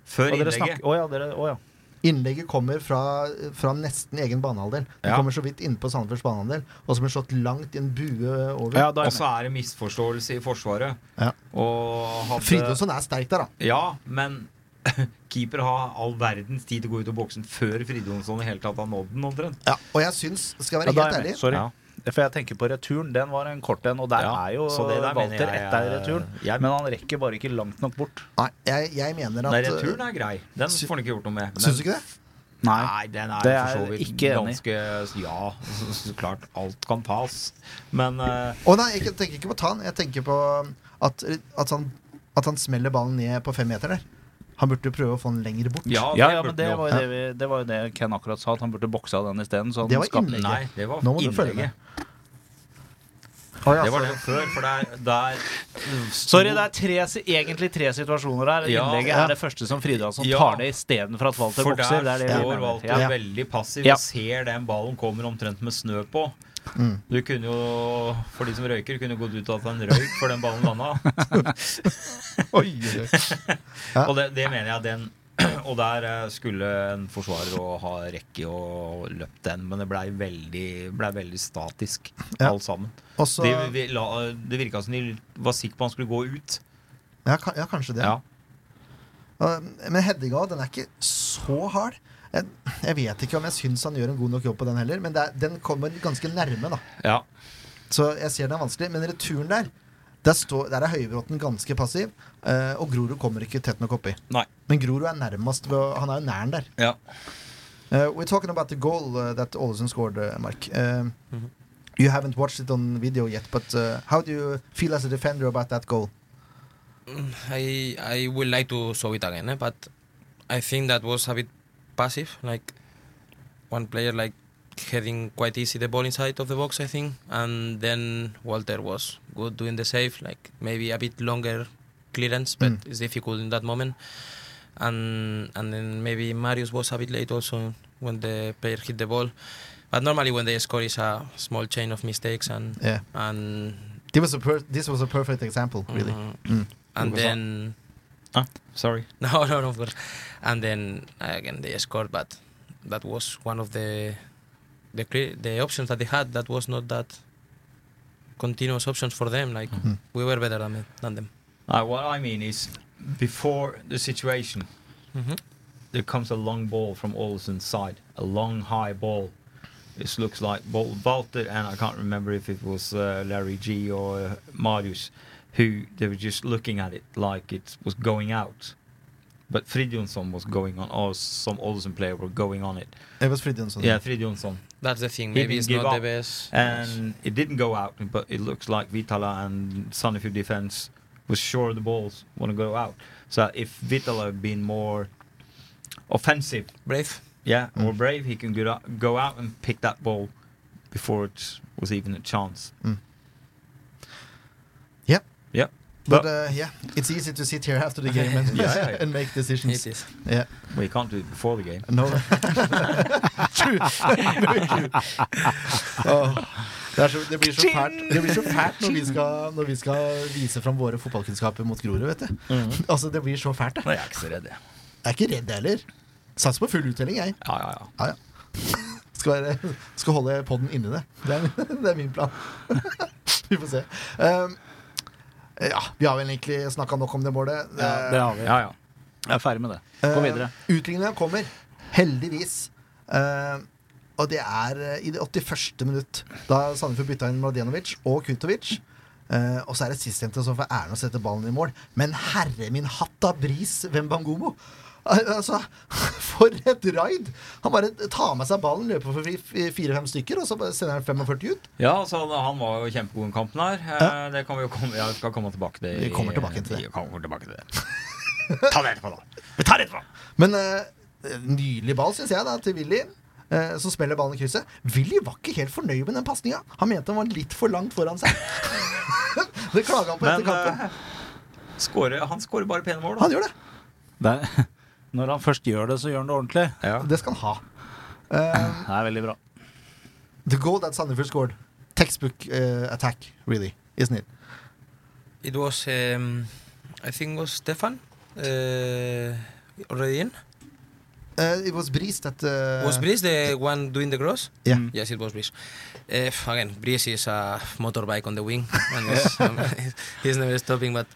S3: Før,
S2: og dere
S3: innlegget.
S2: snakker, å ja, dere, å ja.
S1: Innlegget kommer fra, fra nesten egen banehalvdel. Den
S3: Ja.
S1: kommer så vidt innpå Sandefjords banehalvdel, og så blir den slått langt i en bue over.
S2: ja da er
S3: Og
S2: jeg
S3: så er det misforståelse i Forsvaret.
S1: Ja.
S3: Og hadde
S1: Fridtjonsson er sterk der, da.
S3: Ja, men <laughs> keeper har all verdens tid til å gå ut av boksen før Fridtjonsson i hele tatt har nådd den, omtrent.
S1: Ja, og jeg syns, skal jeg
S2: med. Ja,
S1: være helt
S2: da er jeg
S1: ærlig
S2: med. Sorry.
S3: Ja.
S2: For jeg tenker på returen. Den var en kort en, og der
S3: Ja,
S2: er jo
S3: så det der mener
S2: Walter
S3: jeg- eh,
S2: etter returen.
S3: jeg-
S2: Men han rekker bare ikke langt nok bort.
S1: Nei, jeg, jeg mener at
S3: Nei, returen er grei. Den får han ikke gjort noe med. Men-
S1: Syns du ikke det?
S3: Nei, den er,
S2: Det
S3: for så
S2: er
S3: vidt
S2: ikke enig.
S3: ganske Ja, så, så klart alt kan tas. Men eh,
S1: Å nei, jeg tenker ikke på Tan. Jeg tenker på um, at, at han At han smeller ballen ned på femmeteren der. Han burde prøve å få den lenger bort.
S3: Ja,
S2: Ja,
S3: det
S2: ja,
S3: burde
S2: men det
S3: han.
S2: var, jo det, vi, det var jo det Ken akkurat sa, at han burde bokse av den isteden. så han
S1: Det var
S2: skapte-
S1: innlegget.
S3: Nei, det var
S1: Nå må du følge med.
S3: innlegget.
S1: Å, ja,
S3: Det var
S1: så-
S3: det før, for der, der
S2: Sorry, det er tre, si- egentlig tre situasjoner her.
S3: Ja.
S2: Innlegget er det første som Fridalsson
S3: Ja.
S2: tar det istedenfor at Walter
S3: For
S2: bokser. Det er
S3: der
S2: det vi
S3: står
S2: mener.
S3: Walter
S2: ja.
S3: veldig passiv
S2: Ja.
S3: og ser den ballen kommer omtrent med snø på.
S1: Mm.
S3: <laughs> Du kunne jo, for de som røyker, kunne gått ut av at han røyk før den ballen landa.
S1: Ja.
S3: Og det, det mener jeg den Og der eh, skulle en forsvarer å ha rekke og løpt den, men det blei veldig, ble veldig statisk,
S1: Ja.
S3: alt sammen.
S1: Og så-
S3: De, vi, la, det virka som de var sikre på han skulle gå ut.
S1: ja, ka- ja, kanskje det.
S3: Ja.
S1: Og- Men headinga den er ikke så hard. Jeg, jeg vet ikke om jeg syns han gjør en god nok jobb på den heller, men det er, den kommer ganske nærme. da
S3: Ja.
S1: Så jeg ser den er vanskelig. Men returen der, der, står, der er Høybråten ganske passiv. eh, og Grorud kommer ikke tett nok oppi.
S3: Nei.
S1: Men Grorud er nærmest ved, å- Han er jo næren der.
S3: Ja.
S1: Uh, we're talking about the goal uh, that Ålesund scored, uh, Mark. Um,
S3: Mm-hmm.
S1: You haven't watched it on video yet, but uh, how do you feel as a defender about that goal?
S5: I I would like to show it again, eh? but I think that was a bit passive. Like one player like heading quite easy the ball inside of the box, I think, and then Walter was good doing the save. Like maybe a bit longer clearance, but
S1: Mm.
S5: it's difficult in that moment. And and then maybe Marius was a bit late also when the player hit the ball. But normally when they score is a small chain of mistakes and
S1: Yeah.
S5: and
S1: This was a per this was a perfect example, really.
S5: mm,
S3: Mm-hmm.
S1: Mm.
S5: and
S3: Oh, Who was that?
S5: then.
S3: Sorry.
S5: <laughs> No, no, no, of course. And then again they scored, but that was one of the the clear, the options that they had. That was not that continuous options for them. Like
S3: Mm-hmm.
S1: Mhm.
S5: we were better than, than them.
S3: Uh, what I mean is, before the situation, Mm-hmm. there comes a long ball from Olsen's side, a long high ball. This looks like Wal- Walter, and I can't remember if it was uh, Larry G or uh, Marius, who they were just looking at it like it was going out. But Fridjonsson was going on, or some Olsen player were going on it.
S1: It was Fridtjonsson.
S3: Yeah, Fridjonsson.
S5: That's the thing.
S3: He
S5: Maybe
S3: didn't
S5: it's
S3: give
S5: not the
S3: up.
S5: best.
S3: And it didn't go out, but it looks like Vitala and Sonnefjord defense was sure the balls want to go out. So if Vitala had been more offensive,
S5: brave.
S3: yeah, more
S1: Mm.
S3: brave, he can go out, go out and pick that ball before it was even a chance.
S1: But uh, yeah, it's easy to sit here after the game and,
S3: <laughs> Yeah, yeah.
S1: <laughs> and make
S5: It
S1: decisions.
S5: is.
S1: Yeah.
S3: Well, you can't do it before the game. <laughs>
S1: No. true. <laughs> Very true. Åh, Det, er så, det, blir så fælt, det blir så fælt når vi skal, når vi skal vise fram våre fotballkunnskaper mot Grorud, vet du.
S3: Mm-hmm.
S1: Altså, det blir så fælt, det.
S3: Nei, jeg er ikke så redd, jeg.
S1: Jeg er ikke redd heller. Satser på full uttelling, jeg.
S3: Ja, ja, ja.
S1: Ja, <laughs> ja. Skal, være, skal holde podden inni det. Det er, min- <laughs> det er min plan. vi får se. Um, ja, vi har vel egentlig snakka nok om det Eh, målet.
S2: Ja, det har vi.
S3: ja, ja.
S2: Jeg er ferdig med det. Gå videre.
S1: Eh, Utligninga kommer, heldigvis. Eh, og det er eh, i det 81. minutt, da Sandefjord bytta inn Mladenovic og Kutovic. Eh, og så er det sistnevnte som får æren å sette ballen i mål. Men herre min hatt av bris, Wembangomo! Al- Altså, <laughs> for et raid! Han bare tar med seg ballen, løper for fire-fem stykker, og så bare sender han 45 ut.
S3: Ja, altså, han- han var jo kjempegod i den kampen her. Eh, Det kan vi jo komme, ja, vi skal komme tilbake til.
S1: Vi
S3: i-
S1: kommer tilbake til det.
S3: Vi kommer tilbake til det. <laughs> Ta det etterpå, da. Vi tar det etterpå.
S1: Men eh, nydelig ball, syns jeg, da, til Willy. eh, som spiller ballen i krysset. Willy var ikke helt fornøyd med den pasninga. Han mente han var litt for langt foran seg. <laughs> det klaga han på etter
S3: Men
S1: kampen.
S3: eh, skårer- han skårer bare pene mål, da.
S1: Han gjør det.
S2: Det, <laughs> når han først gjør det, så gjør han det ordentlig.
S1: Det skal han ha. Eh,
S2: Det er veldig bra.
S1: the goal that Sandefjord scored. Textbook eh, attack, really, isn't it?
S5: It was. Um, I think was Stefan uh, already in.
S1: Eh, it was Breeze that
S3: Uh,
S1: eh,
S5: was Brice the one doing the cross?
S1: Yeah.
S2: Mm.
S5: Yes, it was Brice. Uh, again, Brice is a motorbike on the wing, and he's, um, <laughs> he's never stopping. But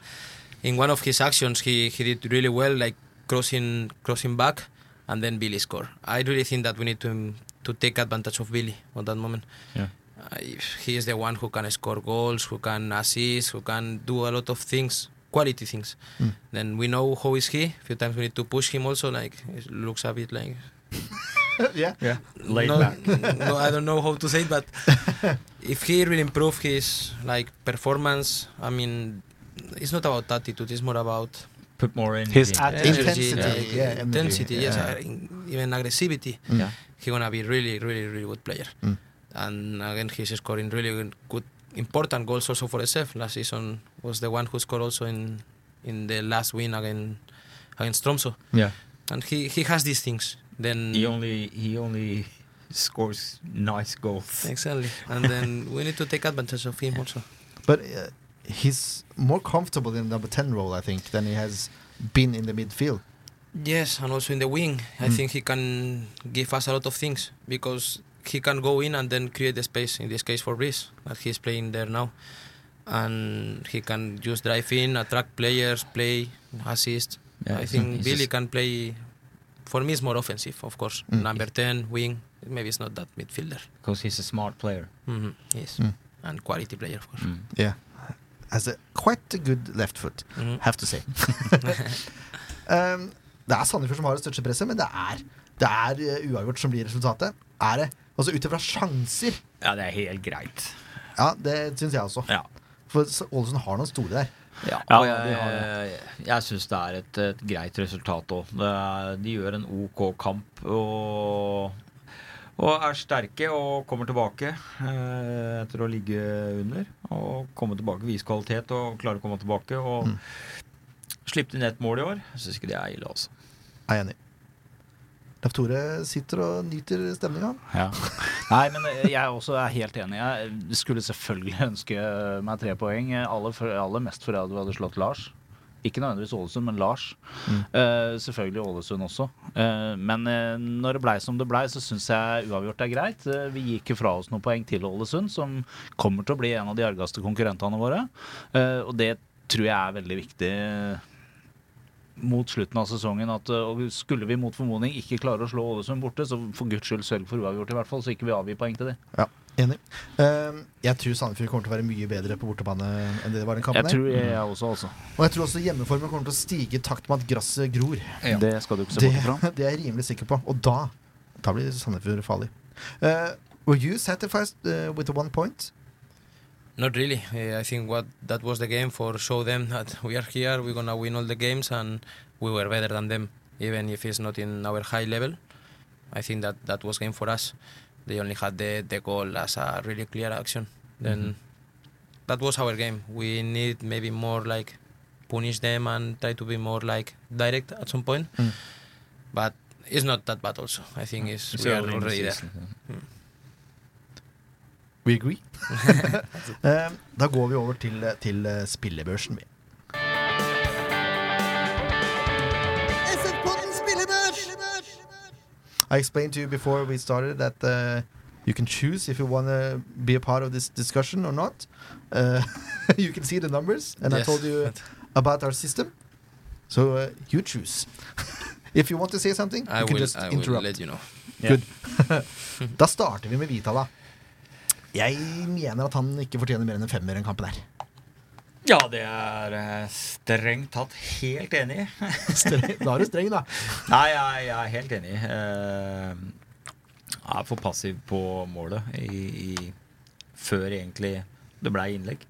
S5: in one of his actions, he, he did really well, like crossing crossing back, and then Billy scored. I really think that we need to um, to take advantage of Billy at that moment.
S3: Yeah.
S5: I, he is the one who can score goals, who can assist, who can do a lot of things, quality things. Then we know how is he. A few times we need to push him also. Like it looks a bit like
S1: <laughs> yeah.
S3: Ja. Laid
S5: no,
S3: back.
S5: <laughs> no, I don't know how to say it, but if he really improve his like performance, I mean, it's not about attitude. It's more about
S3: Put more in
S2: His
S3: Yeah.
S2: attitude.
S5: energy,
S1: Ah, Intensity,
S5: like,
S1: yeah, energy,
S5: intensity, yes,
S1: yeah.
S5: uh, in- even aggressivity.
S3: Yeah.
S5: He's gonna be really, really, really good player.
S7: Mm.
S5: And again, he's scoring really good, important goals also for SF. Last season was the one who scored also in in the last win against against Tromso.
S3: Yeah.
S5: And he he has these things. Then
S3: He only he only scores nice goals.
S5: exactly. And
S7: <laughs>
S5: then we need to take advantage of him also.
S1: But uh, he's more comfortable in the number 10 role, I think, than he has been in the midfield.
S5: Yes, and also in the wing, I
S7: Mm.
S5: think he can give us a lot of things because he can go in and then create the space. In this case, for Breeze, that he's playing there now, and he can just drive in, attract players, play, assist.
S3: Yeah,
S5: I
S3: he's-
S5: think
S3: he's
S5: Billy
S3: just-
S5: can play. For me, it's more offensive, of course.
S7: Mm.
S5: Number ten, wing. Maybe it's not that midfielder.
S3: Because he's a smart player.
S5: hmm Yes,
S7: Mm.
S5: and quality player, of course.
S7: Yeah. Has a, quite a good left foot,
S2: Mm-hmm.
S5: Mhm.
S7: have
S2: <laughs>
S7: to say.
S1: Um, det er Sandefjord som har det største presset, men det er, det er eh, uavgjort som blir resultatet. Er det? Altså ut ifra sjanser.
S3: Ja, det er helt greit.
S1: Ja, det syns jeg også.
S3: Ja.
S1: For S- Ålesund har noen store der.
S3: Ja,
S2: Ja,
S3: og
S2: de har
S3: jeg, jeg syns det er et, et greit resultat òg. De gjør en OK kamp og, og er sterke og kommer tilbake eh, etter å ligge under. Og komme tilbake, vise kvalitet og klare å komme tilbake. Og
S7: Mm.
S3: slippe inn ett mål i år. Jeg syns ikke det er ille, altså.
S1: Er jeg enig. Leif Tore sitter og nyter stemninga.
S2: Nei, men jeg også er helt enig. Jeg skulle selvfølgelig ønske meg tre poeng. Aller, for, aller mest fordi du hadde slått Lars. Ikke nødvendigvis Ålesund, men Lars. Eh, selvfølgelig Ålesund også. Eh, men eh, når det blei som det blei, så syns jeg uavgjort er greit. Eh, vi gikk jo fra oss noen poeng til Ålesund, som kommer til å bli en av de argeste konkurrentene våre. Eh, og det tror jeg er veldig viktig mot slutten av sesongen at eh, og skulle vi mot formodning ikke klare å slå Ålesund borte, så for guds skyld sørg for uavgjort, i hvert fall, så ikke vi avgir poeng til det.
S1: Enig. Um, jeg tror Sandefjord kommer til å være mye bedre på bortebane enn det det var den kampen.
S2: Jeg
S1: her.
S2: tror jeg også, altså.
S1: Og jeg tror også hjemmeformen kommer til å stige i takt med at gresset gror.
S3: Ja.
S2: Det skal du ikke se
S1: Det, <laughs>
S2: bort fra.
S1: det er jeg rimelig sikker på. Og da, da blir Sandefjord farlig. Uh, were you satisfied uh, with the one point?
S5: Not really. Uh, I think what that was the game for show them that <laughs> we are here, we're gonna win all the games, and we were better than them, even if it's not in our high level. I think that that was game for us. They only had the the goal as a really clear action. Then that was our game. We need maybe more like punish them and try to be more like direct at some point.
S7: Mm.
S5: But it's not that bad. Also, I think it's, we are already there.
S1: We <laughs> agree. um, da går vi over til, til uh, spillebørsen, vi. I explained to you before we started that uh, you can choose if you want to be a part of this discussion or not. Uh, <laughs> you can see the numbers, and I
S5: Yes.
S1: told you about our system. So uh, you choose. <laughs> if you want to say something,
S5: <laughs> I
S1: you can
S5: will.
S1: just
S5: I will
S1: interrupt.
S5: let you know.
S1: Da starter vi med Vitala. Jeg mener at han ikke fortjener mer enn en femmer i den kampen her. <laughs>
S3: Ja, det er eh, strengt tatt helt enig i.
S1: Streng- Da er du streng, da.
S3: Nei, jeg, jeg er helt enig. Eh, Jeg er for passiv på målet i, i, før egentlig det ble innlegg.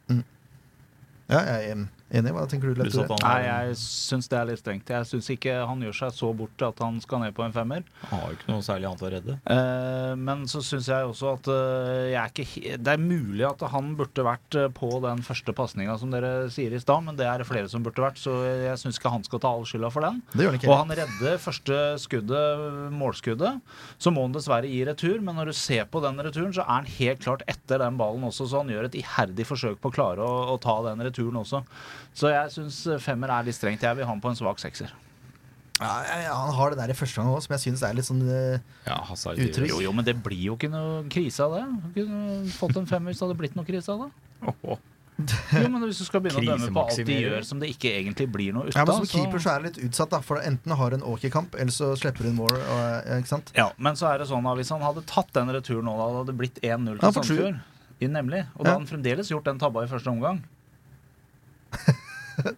S1: Ja, jeg er enig. Hva tenker du,
S3: Du
S1: Leif
S3: sa at
S1: Tore?
S3: han
S2: Nei, jeg syns det er litt strengt. Jeg syns ikke han gjør seg så bort at han skal ned på en femmer.
S3: har jo ikke noe særlig annet å redde.
S2: Eh, men så syns jeg også at eh, jeg er ikke he Det er mulig at han burde vært eh, på den første pasninga som dere sier i stad, men det er det flere som burde vært, så jeg syns ikke han skal ta all skylda for den.
S1: Det gjør han
S2: Og
S1: ikke.
S2: han redder første skuddet, målskuddet. Så må han dessverre gi retur, men når du ser på den returen, så er han helt klart etter den ballen også, så han gjør et iherdig forsøk på å klare å, å ta den returen også. Så jeg syns femmer er litt strengt. Jeg vil ha han på en svak sekser.
S1: Ja, ja, ja, han har det der i første gang òg, som jeg syns er litt sånn eh,
S3: Ja, Hazard
S1: Utrygg.
S3: gjør
S2: Jo, jo, men det blir jo ikke noe krise av det. Du kunne fått en femmer hvis det hadde blitt noe krise av det.
S3: jo-
S2: Jo, men hvis du skal begynne
S1: <laughs>
S2: å dømme på alt de
S3: Krisemaksimering.
S2: gjør som det ikke egentlig blir noe ut
S1: ja,
S2: av,
S1: men Som keeper så er det litt utsatt, da. For enten har du en åkerkamp, eller så slipper du en mål. Og, ja, ikke sant?
S2: Ja, men så er det sånn at hvis han hadde tatt den returen nå, da hadde det blitt 1-0
S1: Ja,
S2: til
S1: for sure.
S2: Sandefjord. I Nemlig. Og
S1: Ja.
S2: da hadde han fremdeles gjort den tabba i første omgang.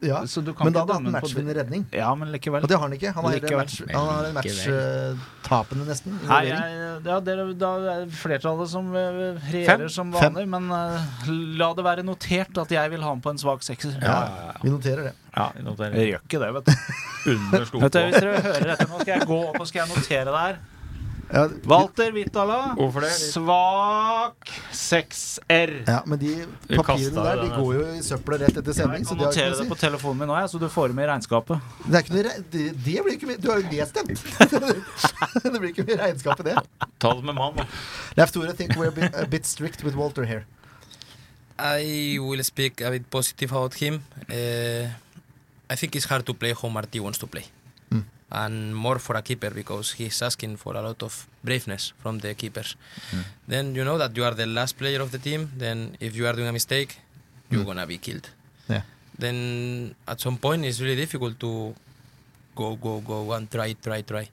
S1: ja.
S2: Så du kan
S1: Men da hadde
S2: ikke
S1: han hatt
S2: dømme den på det.
S1: matchvinnende redning.
S2: Ja, men likevel.
S1: Og det har han ikke. Han har
S2: Likevel.
S1: match- han har en matchtapende, nesten.
S2: Nei, jeg, ja, det er, da er det flertallet som eh, regjerer som
S1: Fem.
S2: vanlig, men eh, la det være notert at jeg vil ha han på en svak sekser.
S1: Ja. Vi noterer det.
S3: Ja, vi noterer.
S2: Jeg gjør ikke det, vet du.
S3: Under sko
S2: <laughs> Vet du,
S3: på.
S2: Hvis dere hører dette nå, skal jeg gå opp og skal jeg notere det her.
S1: Ja,
S2: Walter Vitala,
S3: Hvorfor det?
S2: svak 6R.
S1: ja, men de
S3: Vi kastet
S1: papirene der De
S3: den,
S1: går jo i søpla rett etter
S2: Jeg
S1: sending. Så
S2: kan
S1: de har ikke
S2: notere
S1: noe å
S2: det
S1: si.
S2: på telefonen min nå, jeg, så du får det med i regnskapet.
S1: Det er ikke noe re det, det blir ikke mye Du har jo lest
S2: <laughs>
S1: dem! det blir ikke mye regnskap i det.
S3: Ta det med mann. da.
S1: Leif Tore think we're a bit, a bit strict with Walter here.
S5: I will speak a bit positive about him. Uh, I think it's hard to play how Marty wants to play.
S1: Mm.
S5: And more for a keeper because he's asking for a lot of braveness from the keepers.
S1: Hmm.
S5: Then you know that you are the last player of the team. Then if you are doing a mistake, you're
S1: Hmm.
S5: gonna be killed.
S1: Yeah.
S5: Then at some point it's really difficult to go, go, go and try, try, try.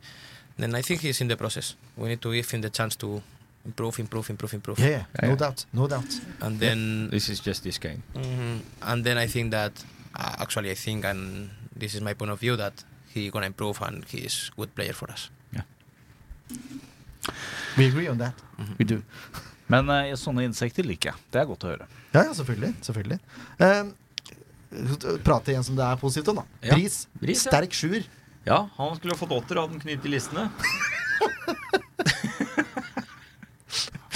S5: Then I think he's in the process. We need to give him the chance to improve, improve, improve, improve.
S1: Yeah, yeah.
S3: Ja, ja.
S1: No doubt. No doubt.
S5: And then
S3: This is just this game.
S5: Mhm. And then I think that uh, actually I think, and this is my point of view, that he gonna improve and he's good player for us.
S1: We agree on that.
S2: Men eh, sånne insekter liker jeg. Det er godt å høre.
S1: Ja, ja, selvfølgelig. selvfølgelig. Um, prate igjen som det er positivt om, da.
S3: Ja.
S1: Bris.
S3: Bris, ja.
S1: Sterk sjuer.
S3: Ja, han skulle ha fått åtter, hadde han knyttet listene.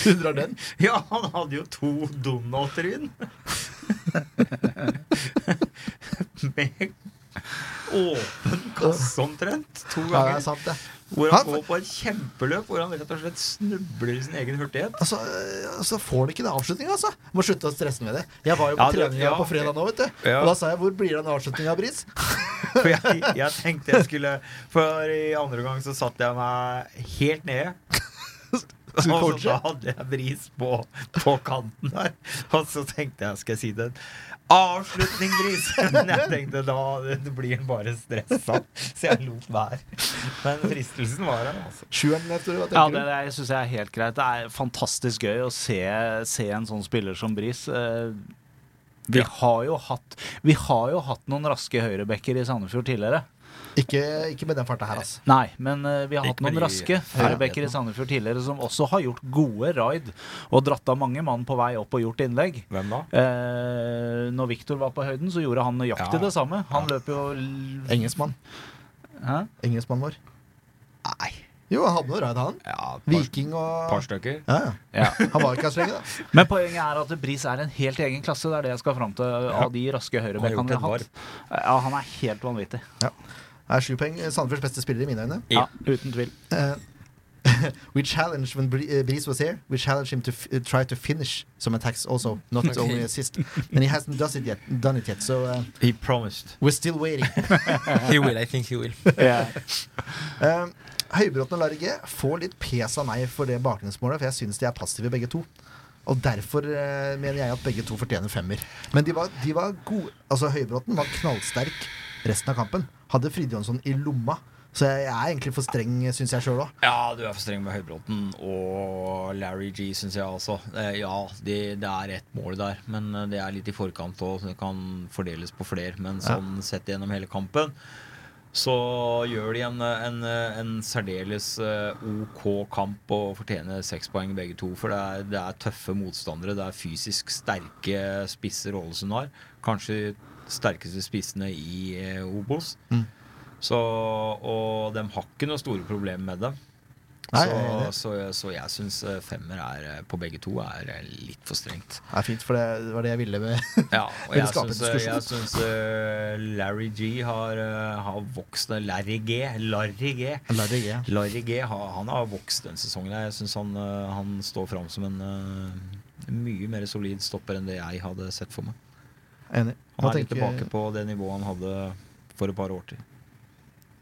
S1: Du drar den.
S3: <laughs> Ja, han hadde jo to Donald-tryn. <laughs> Med åpen kasse omtrent. To
S1: Ja, det er
S3: ganger.
S1: sant, det.
S3: Hvor han
S1: Han-
S3: går på et kjempeløp hvor han rett og slett snubler i sin egen hurtighet.
S1: Altså, øh, så får han ikke den avslutninga, altså. Må slutte å stresse med det. Jeg var jo på
S3: Ja, du-
S1: treninga
S3: ja.
S1: på fredag nå, vet du.
S3: Ja.
S1: Og da sa jeg 'Hvor blir det av den avslutninga, Bris?'
S3: For jeg, jeg tenkte jeg skulle For i andre gang så satte jeg meg helt nede. Og <laughs> så da hadde jeg bris på, på kanten der. Og så tenkte jeg, skal jeg si det Avslutning, bris! <laughs> Men jeg tenkte da det blir han bare stressa. Så jeg lot være. Men fristelsen var her, altså.
S1: Sjueren, jeg tror. Hva
S2: Ja,
S1: tenker
S2: det, det syns jeg er helt greit. Det er fantastisk gøy å se, se en sånn spiller som Bris. Eh, Vi, har jo hatt, vi har jo hatt noen raske høyrebacker i Sandefjord tidligere.
S1: du? Ikke, ikke med den farta her, altså.
S2: Nei, men eh, vi har hatt
S3: Ikke med
S2: noen
S3: de
S2: raske høyrebacker i Sandefjord tidligere som også har gjort gode raid og dratt av mange mann på vei opp og gjort innlegg.
S3: Hvem da?
S2: Eh, når Viktor var på høyden, så gjorde han nøyaktig
S3: Ja.
S2: det samme. Han løp jo l-
S1: Engelskmann.
S2: Hæ?
S1: Engelskmannen vår.
S3: Nei.
S1: Jo, han hadde noe raid, han.
S3: Ja, et par,
S1: Viking og
S3: par stykker.
S1: ja, ja.
S2: Ja.
S1: Han var ikke her så lenge, da.
S2: Men poenget er at Bris er en helt egen klasse. Det er det jeg skal fram til av de raske høyrebekkene
S3: Han har gjort
S2: vi har
S3: et
S2: hatt. Ja, han er helt vanvittig.
S1: Er sju poeng eh, Sandefjords beste spiller i mine øyne.
S2: Ja, uten tvil.
S1: Eh, <laughs> we challenge when Bri- eh, Breeze was here. We challenge him to f eh, try to finish some attacks also, not only assist. And he hasn't does it yet, done it yet. So uh,
S3: He promised.
S1: we're still waiting.
S5: <laughs> he will, I think he will.
S1: Eh, Høybråten og Large får litt pes av meg for det bakgrunningsmålet, for jeg syns de er passive begge to. Og derfor eh, mener jeg at begge to fortjener femmer. Men de var, de var gode. Altså, Høybråten var knallsterk resten av kampen. Hadde Fride Jonsson i lomma. Så jeg, jeg er egentlig for streng, syns jeg sjøl òg.
S3: Ja, du er for streng med Høybråten og Larry G, syns jeg altså. Eh, ja, det, det er ett mål der, men eh, det er litt i forkant òg, så det kan fordeles på flere. Men sånn sett gjennom hele kampen så gjør de en, eh, en, eh, en særdeles eh, OK kamp og fortjener seks poeng begge to. For det er, det er tøffe motstandere. Det er fysisk sterke spisser Ålesund har. Kanskje de sterkeste spissene i eh, Obos.
S1: Mm.
S3: Så, og de har ikke noe store problemer med dem.
S1: Nei,
S3: så,
S1: jeg er enig.
S3: så, så jeg syns femmer er, eh, på begge to er eh, litt for
S1: <laughs>
S3: strengt.
S1: Det er fint, for det, det var det jeg ville med
S3: Ja, og
S1: Vil
S3: jeg
S1: det skape
S3: syns,
S1: diskusjon?
S3: jeg syns eh, Larry G har, eh, har vokst Larry G. Larry G.
S1: Large. ja.
S3: Larry G har, han har vokst denne sesongen. her. Jeg syns han, eh, han står fram som en eh, mye mer solid stopper enn det jeg hadde sett for meg.
S1: Enig.
S3: Han
S1: Hva
S3: er litt
S1: tenker,
S3: tilbake på det nivået han hadde for et par år til.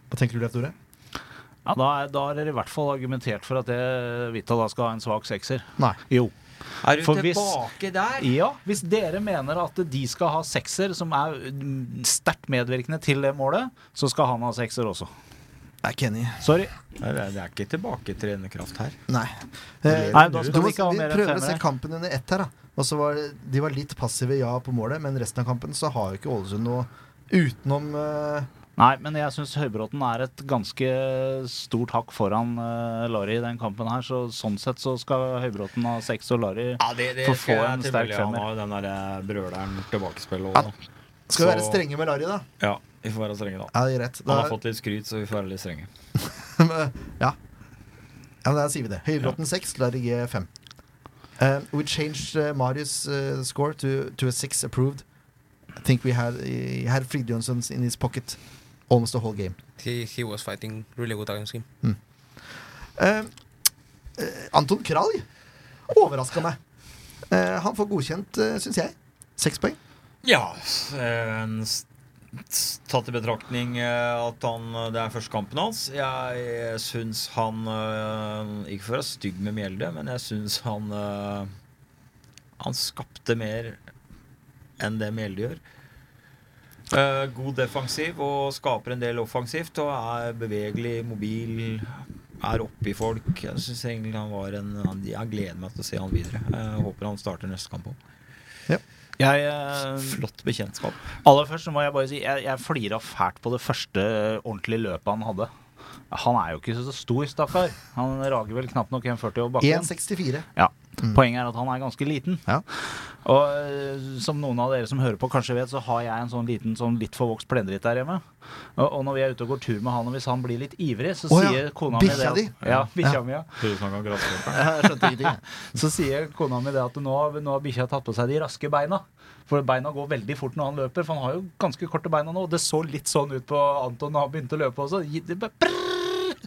S1: hva tenker du, Leif Tore?
S2: Ja, da, er- da er dere i hvert fall argumentert for at det, Vita da skal ha en svak sekser.
S1: Nei.
S2: Jo.
S3: Er du
S2: For hvis-
S3: tilbake der?
S2: Ja, hvis dere mener at de skal ha sekser, som er mm, sterkt medvirkende til det målet, så skal han ha sekser også.
S1: Jeg er ikke enig.
S2: Sorry.
S3: Nei, Det er, det er ikke tilbaketrenende kraft her.
S1: Nei.
S3: lever
S1: Eh,
S2: Nei, da skal
S1: du
S2: vi
S1: må-
S2: ikke ha
S1: vi
S2: mer enn
S1: prøver å se
S2: femmere.
S1: kampen under ett her, da. Og så var det- De var litt passive, ja, på målet, men resten av kampen så har jo ikke Ålesund noe Utenom eh,
S2: Nei, men jeg syns Høybråten er et ganske stort hakk foran uh, Larry i den kampen her, så sånn sett så skal Høybråten ha seks og Larry
S3: Ja, det, det
S2: For
S3: skal
S2: få en
S3: jeg
S2: sterk
S3: tilbake. Han
S2: femmer.
S3: har jo den der eh, brøleren tilbakespill og
S1: Skal vi
S3: Så-
S1: være strenge med Larry, da?
S3: Ja, vi får være strenge, da.
S1: Ja, det er rett.
S3: Han
S1: Da,
S3: har fått litt skryt, så vi får være litt strenge.
S1: <laughs> ja, men da sier vi det. Høybråten 6, Larry G5. Eh, we changed eh, Marius' eh, score to, to a 6 approved. I think we had, eh, he had Frid Jonsson's in his pocket almost the whole game.
S5: He, he was fighting really good against him.
S1: Eh, eh, Anton Kralj overraska meg. Eh, han får godkjent, uh, syns jeg. Seks poeng.
S3: Ja, eh, en s- s- tatt i betraktning eh, at han, eh, det er første kampen hans. Jeg syns han eh, Ikke for å være stygg med Mjelde, men jeg syns han eh, Han skapte mer enn det Mjelde gjør. Eh, God defensiv og skaper en del offensivt og er bevegelig, mobil, er oppi folk. Jeg syns egentlig han var en Jeg gleder meg til å se han videre. Jeg håper han starter neste kamp òg.
S2: Jeg eh,
S3: Flott bekjentskap.
S2: Aller først så må jeg bare si jeg, jeg flira fælt på det første eh, ordentlige løpet han hadde. Han er jo ikke så stor, stakkar. Han rager vel knapt nok 1,40 over bakken.
S1: 1,64.
S2: Ja. Poenget er at han er ganske liten.
S1: Mm. Ja.
S2: Og eh, som noen av dere som hører på kanskje vet, så har jeg en sånn liten, sånn litt forvokst plendritt der hjemme. Og, og når vi er ute og går tur med han, og hvis han blir litt ivrig, så
S1: Å ja,
S2: sier kona mi det
S1: bikkja
S2: at-
S1: di.
S2: Ja, bikkja
S1: Ja.
S2: mi, ja.
S3: Høres ut som han kan grasshopper.
S1: Jeg skjønte
S2: <laughs>
S1: ingenting. jeg.
S2: Så sier kona mi det at nå, har- nå har bikkja tatt på seg de raske beina. For beina går veldig fort når han løper, for han har jo ganske korte beina nå. Og det så litt sånn ut på Anton da han begynte å løpe også. Det bare brrrr.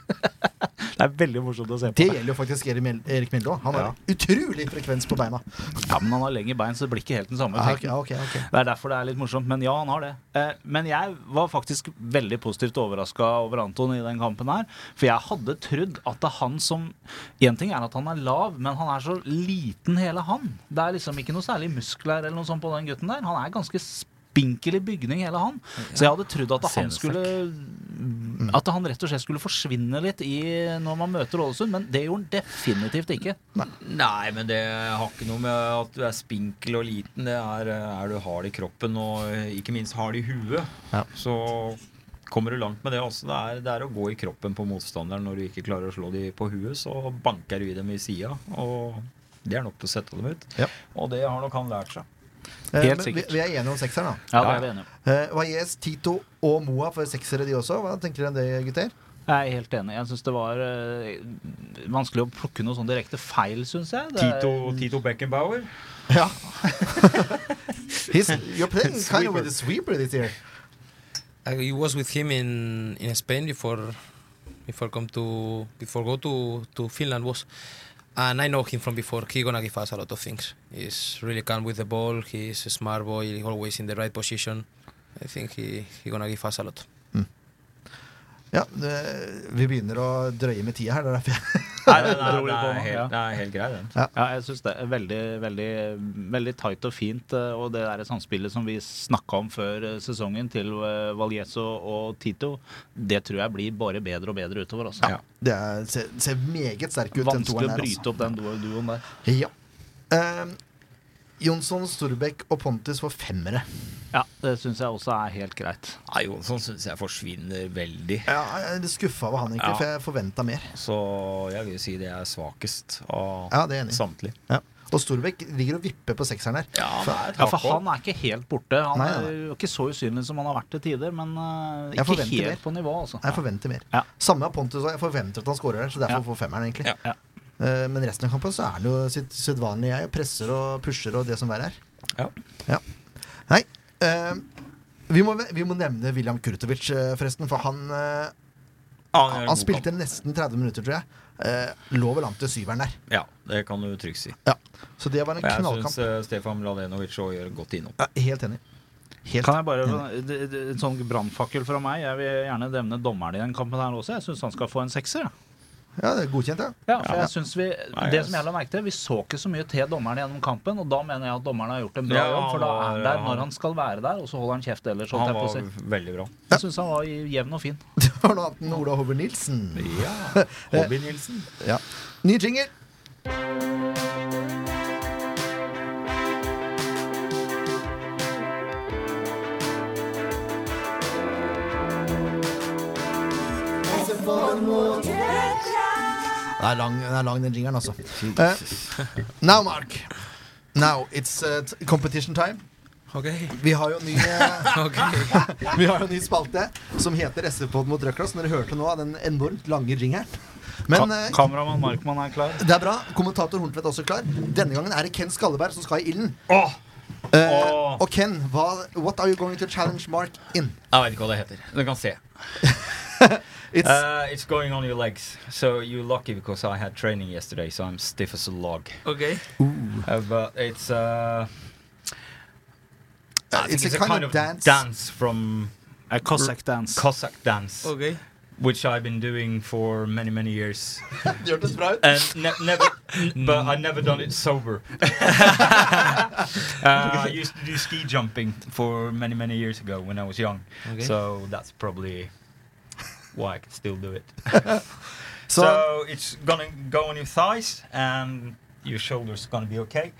S2: <laughs> Det er veldig morsomt å se
S1: Det
S2: på.
S1: gjelder jo faktisk Erik Mjeld- Erik Mjelde òg. Han har
S2: Ja.
S1: utrolig frekvens på beina.
S2: Ja, men han har lengre bein, så det blir ikke helt den samme
S1: Ah,
S2: effekten.
S1: ok, ah, ok, ok.
S2: Det er derfor det er litt morsomt, men ja, han har det. Eh, men jeg var faktisk veldig positivt overraska over Anton i den kampen her. For jeg hadde trodd at det er han som Én ting er at han er lav, men han er så liten hele han. Det er liksom ikke noe særlig muskler eller noe sånt på den gutten der. Han er ganske spinkel i bygning, hele han. Så jeg hadde trodd at han skulle At han rett og slett skulle forsvinne litt i når man møter Ålesund, men det gjorde han definitivt ikke.
S3: Nei, men det har ikke noe med at du er spinkel og liten. Det er, eh, er du hard i kroppen og eh, ikke minst hard i huet.
S1: Ja.
S3: Så kommer du langt med det også. Det er, det er å gå i kroppen på motstanderen når du ikke klarer å slå dem på huet. Så banker du i dem i sida, og det er nok til å sette dem ut.
S1: Ja.
S3: Og det har nok han lært seg.
S1: Eh, men
S2: Helt
S1: vi,
S2: sikkert.
S1: vi er enige om sekseren, da.
S2: Ja, det er vi enige om.
S1: Eh, Wajez, Tito og Moa for seksere, de også. Hva tenker dere om det, gutter?
S2: Jeg er helt enig. Jeg synes det var eh, vanskelig å plukke noe sånn direkte feil, syns jeg. Det er-
S3: Tito, Tito Beckenbauer.
S2: <laughs>
S1: Ja. <laughs> He's, you're playing kind of with a sweeper this year.
S5: I was with him in, in Spain before before come to before go to, to Finland was, and I know him from before. He gonna give us a lot of things. He's really calm with the ball. He's a smart boy. He's always in the right position. I think he he gonna give us a lot.
S1: Ja, det- vi begynner å drøye med tida her. Det er derfor jeg
S3: Nei, det, <laughs> det,
S2: Dro vi
S3: det,
S2: på nå,
S3: er
S2: ja.
S3: helt, det er helt grei, den.
S2: Ja, jeg syns det er veldig, veldig, veldig tight og fint. eh, Og det der samspillet som vi snakka om før eh, sesongen til Valjezo og Tito, det tror jeg blir bare bedre og bedre utover. Altså.
S3: Ja.
S1: Det er, ser, ser meget sterk ut, den
S2: Vanskelig
S1: toeren
S2: å
S1: her.
S2: bryte
S1: Altså.
S2: opp den du- duoen der.
S1: Ja. Eh, Jonsson, Storbekk og Pontus får femmere.
S2: Ja, Det syns jeg også er helt greit.
S3: Nei, Jonsson syns jeg forsvinner veldig.
S1: Ja, jeg er litt skuffa over han, egentlig,
S3: Ja.
S1: for jeg forventa mer.
S3: Så jeg vil si det er svakest av
S1: Ja, det er jeg enig i.
S3: samtlige.
S1: Ja. Og Storbekk ligger og vipper på sekseren her.
S3: Ja, det er et
S2: Ja, For
S3: hakk opp.
S2: han er ikke helt borte. Han
S1: Nei,
S2: er
S1: nei.
S2: jo ikke så usynlig som han har vært til tider, men eh,
S1: Jeg
S2: ikke
S1: forventer
S2: helt
S1: mer.
S2: på nivå, altså.
S1: Jeg forventer mer.
S2: Ja.
S1: Samme av Pontus òg. Jeg forventer at han scorer her, så derfor
S2: Ja.
S1: får femmeren, egentlig.
S3: Ja.
S2: Ja.
S1: Eh, men resten av kampen så er han jo sitt sedvanlige jeg. og Presser og pusher og det som verre er.
S3: Ja.
S1: Ja. Nei. eh, vi, må, vi må nevne William Kurtovic, eh, forresten, for han eh,
S3: Ja, gjør
S1: Han
S3: en god
S1: spilte
S3: kamp.
S1: nesten 30 minutter, tror jeg. Eh, lå vel an til syveren der.
S3: Ja, det kan du trygt si.
S1: Ja. Så det var en
S3: Og jeg
S1: knallkamp.
S3: syns eh, Stefan Mladenovic òg gjør godt innom.
S1: Ja, helt enig. Helt.
S2: Kan jeg bare, det- det- En sånn brannfakkel fra meg. Jeg vil gjerne nevne dommeren i den kampen her også. Jeg syns han skal få en sekser. jeg.
S1: Ja, det er godkjent, ja. <laughs>
S2: Ja, for jeg synes vi,
S3: Nei,
S2: det
S3: jeg-
S2: som jeg la merke til, vi så ikke så mye til dommeren gjennom kampen, og da mener jeg at dommeren har gjort en bra
S3: Ja,
S2: jobb, for da er han
S3: han var-
S2: der når han skal være der, og så holder han kjeft ellers. holdt
S3: Han
S2: Jeg på å
S3: var
S2: si.
S3: veldig
S1: <laughs>
S3: bra.
S2: Jeg synes han var jevn og fin.
S1: Det var noe annet enn Ola Hobber Nilsen.
S3: Ja,
S2: <laughs>
S3: Hobby Nilsen.
S1: Ja. Ny jingle. Det er lang, den, er lang, den jingeren, altså. Eh, now, Mark. Now it's eh, t- competition time.
S5: Ok. <laughs>
S1: Vi har jo en ny, eh,
S5: ok. <laughs>
S1: vi har jo en ny spalte som heter SV-pod mot røkla, som dere hørte nå av den enormt lange jingeren. Men eh,
S2: Kameramann Markmann er klar.
S1: det er bra. Kommentator Horntvedt er også klar. Denne gangen er det Ken Skalleberg som skal i ilden. Eh, Og Ken, hva, what are you going to challenge Mark in?
S3: Jeg vet ikke hva det heter. Du kan se.
S1: It's
S3: Uh, it's going on your legs. So you're lucky because I had training yesterday, so I'm stiff as a log.
S5: Ok.
S3: Uh, but it's uh, I think
S1: it's a kind of dance.
S3: dance from
S2: A Cossack dance.
S3: Cossack dance,
S2: Oh,
S5: Ok.
S3: which I've been doing for many many years,
S1: <laughs> Det hørtes bra ut.
S3: <laughs> and ne- never, but I never done it <laughs> sober. uh, I used to do ski jumping for many many years ago when I was young,
S5: Ok.
S3: so that's probably why I can still do it.
S1: Så
S3: So it's gonna go on your thighs and your shoulders gonna be okay.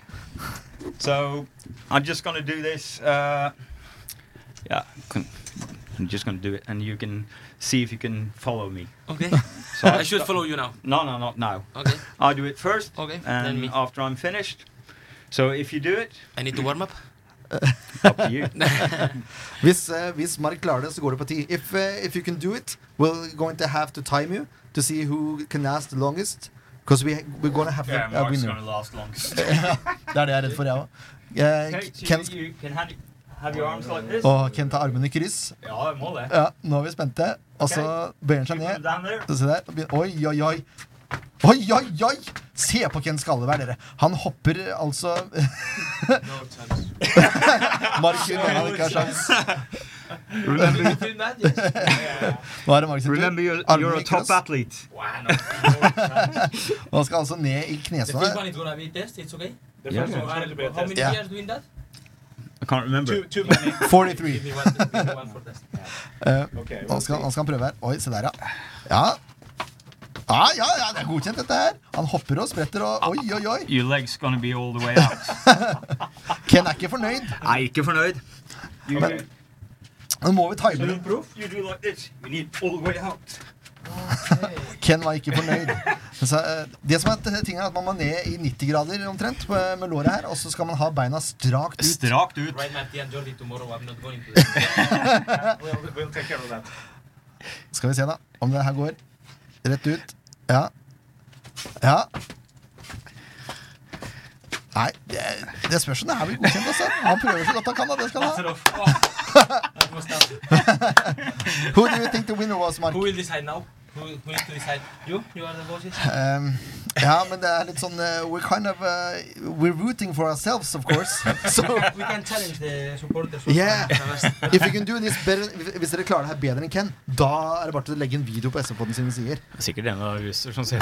S3: So I'm just gonna do this. Uh, yeah, can- I'm just gonna do it, and you can see if you can follow me.
S5: Ok.
S1: <laughs>
S3: So
S5: I should follow you now.
S3: No, no, not now.
S5: Ok.
S3: I do it first,
S5: Okay, then
S3: and
S5: me.
S3: after I'm finished. So if you do <laughs> it,
S5: I need to warm up.
S3: up to <laughs> you.
S1: hvis, eh, hvis Mark klarer det, så går det på ti. If, eh, if you can do it, we're going to have to time you to see who can last the longest. Because we, we're gonna have a- a winner.
S3: last longest.
S1: Det er det jeg er redd for, jeg òg.
S3: okay, so
S1: Ken,
S3: you, you can have, have your arms like this.
S1: og Ken tar armene i kryss.
S3: Ja, jeg må det.
S1: Ja, nå er vi spente. Og så bøyer han
S3: You
S1: seg
S3: put them
S1: ned.
S3: down there.
S1: Se der. og begynner- Oi, oi, oi. Oi, oi, oi! Se på Ken Skalleberg, dere. Han hopper altså <laughs> Mark sin han ikke har sjans.
S3: <laughs>
S1: Nå er det Mark sin tur.
S3: Remember, uh, you're,
S1: Armen
S3: you're a
S1: i
S3: top
S1: kryss.
S3: athlete.
S1: Og Han skal altså ned i knesålene.
S5: is gonna be test, it's okay.
S4: The
S3: Yeah.
S4: first one's going to be a test.
S1: Yeah.
S5: years doing that?
S3: I can't remember.
S4: Too, too many.
S1: 43.
S5: me one, give me one for test.
S1: Eh,
S4: Okay.
S3: Oh.
S1: Nå skal, nå skal han prøve her. Oi, se der, ja. Ja. Ja, ja, ja, det er godkjent, dette her. Han hopper og spretter og Oi, oi, oi.
S3: Your leg's gonna be all the way <laughs> out.
S1: Ken er ikke fornøyd.
S3: Jeg er ikke fornøyd. You,
S1: Men- Nå må vi time det.
S3: you do like this. We need all the way out.
S1: Ken var ikke fornøyd. Så, eh, det som er t- tingen er at Man må ned i 90 grader omtrent på- eh, med låret her, og så skal man ha beina strakt ut.
S3: Strakt ut.
S5: Right, Marty and Jordi, tomorrow I'm not
S3: <laughs>
S5: going to that.
S4: We'll, we'll take care of that.
S1: Skal vi se da, om det her går rett ut. Ja. Ja. Nei, det, det spørs om det her blir godkjent. Altså. Han prøver så godt han kan. da, det skal han ha.
S5: oh, That was tough.
S1: Who do you think the winner was, Mark?
S5: Who will decide now? Who, who needs to decide? You? You are the bosses?
S1: Um, ja, men det er litt sånn eh, We're kind of eh, We're rooting for ourselves, of course. So
S5: We can challenge the supporters.
S1: Yeah. If you can do this better, hvis dere klarer det her bedre enn Ken, da er det bare til å legge en video på SV-podden sine sider.
S3: Sikkert en av russer som ser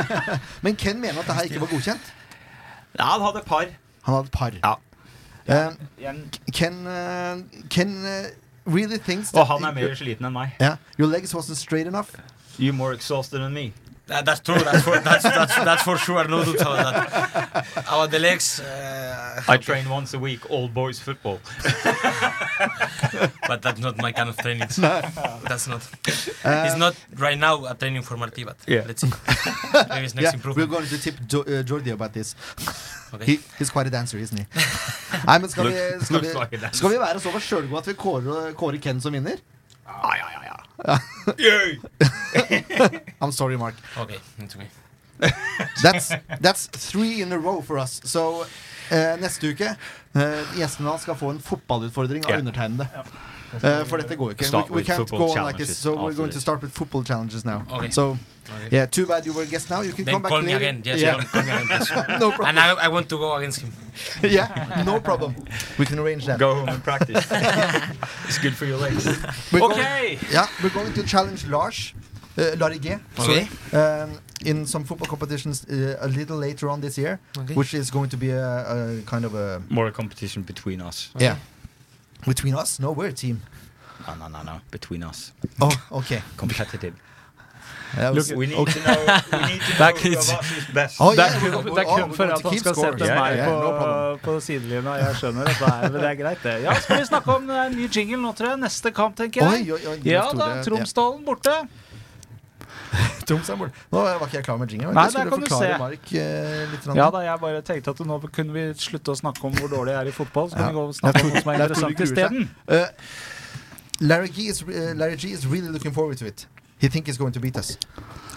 S1: <laughs> Men Ken mener at det her ikke var godkjent.
S3: Ja, han hadde par.
S1: Han hadde par.
S3: Ja.
S1: Eh,
S4: Jan-
S1: Ken, eh, Ken eh, really thinks
S3: Og han er mer sliten enn meg.
S1: Yeah, your legs wasn't straight enough.
S3: You're more exhausted than me.
S5: <laughs> That, that's true. That's for, that's, that's, that's for sure. No doubt about that. <laughs> About the legs, uh,
S3: I train once a week, all boys
S5: <laughs>
S3: football.
S5: but that's not my kind of training. That's not.
S1: Uh,
S5: it's not right now a training for Marty, but
S3: Yeah.
S5: let's
S1: <laughs>
S5: see. Maybe it's next
S1: Yeah, we're
S5: improvement.
S1: going to tip jo eh, Jordi about this.
S5: Okay.
S1: He, he's quite a dancer, isn't he? Nei, men skal vi,
S3: <laughs>
S1: skal vi,
S3: looks like a dancer.
S1: skal vi være såpass sjølgode at vi kårer, kårer Ken som vinner?
S3: Ja, ja, ja, ja.
S1: I'm sorry, Mark.
S5: Okay, it's okay.
S1: That's, that's three in a row for us. So eh, neste uke eh, Gjestene hans skal få en fotballutfordring av
S3: Ja.
S1: undertegnede. Eh, for dette går jo ikke.
S3: Start
S1: We, we
S3: with
S1: can't
S3: football
S1: go on like this,
S3: challenges
S1: so we're
S3: after
S1: going to
S3: this.
S1: start with football challenges now.
S5: Okay.
S1: So,
S5: okay.
S1: yeah, too bad you were a guest now. You can
S5: Then
S1: come back
S5: call me
S1: later.
S5: again. Yes,
S1: yeah. <laughs>
S5: call, call me again. Yes.
S1: no problem.
S5: And I, I want to go against him.
S1: yeah, no problem. We can arrange that.
S3: Go home and practice.
S5: <laughs>
S3: it's good for your legs.
S1: We're Going,
S3: Okay.
S1: yeah, we're going to challenge Lars. Uh, Larry G.
S5: Okay.
S1: um, in some football competitions uh, a little later on this year,
S5: Okay.
S1: which is going to be a, a kind of a
S3: More a competition between us.
S1: yeah between us. No, we're a team.
S3: No, no, no, no. Between us.
S1: Oh, okay.
S3: Competitive.
S1: That was-
S3: we need to know, we need
S5: <laughs>
S3: to know
S2: That
S3: who
S2: is-
S3: of us is best.
S1: Oh,
S2: Det
S1: yeah,
S2: er
S1: we're
S2: kun,
S1: go-
S2: det er
S1: oh,
S2: kun
S1: we're
S2: for
S1: going
S2: at
S1: to
S2: han
S1: keep
S2: skal
S1: score.
S2: sette
S3: Yeah,
S2: meg
S1: yeah, no
S2: på,
S1: problem.
S2: på sidelinja. Jeg skjønner at det er, det er greit, det. Ja, skal vi snakke om eh, det er en ny jingle nå, tror jeg. Neste kamp, tenker
S1: Oi,
S2: jeg.
S1: oi, oi, det
S2: Ja
S1: var
S2: da,
S1: store-
S2: Tromsdalen borte.
S1: Tom Sandborg. Nå var ikke jeg klar med jingeren.
S2: Nei,
S1: Jeg
S2: der
S1: skulle
S2: kan du
S1: forklare
S2: se.
S1: Mark eh, litt. grann.
S2: Ja da, jeg bare tenkte at nå kunne vi slutte å snakke om hvor dårlig jeg er i fotball. Så kan
S1: Ja.
S2: vi gå og snakke om noe som er
S1: Jeg tror- jeg
S2: interessant
S1: tror de gruer seg.
S2: isteden.
S1: Uh, Larry, G is, uh, Larry G is really looking forward to it. He thinks he's going to beat us.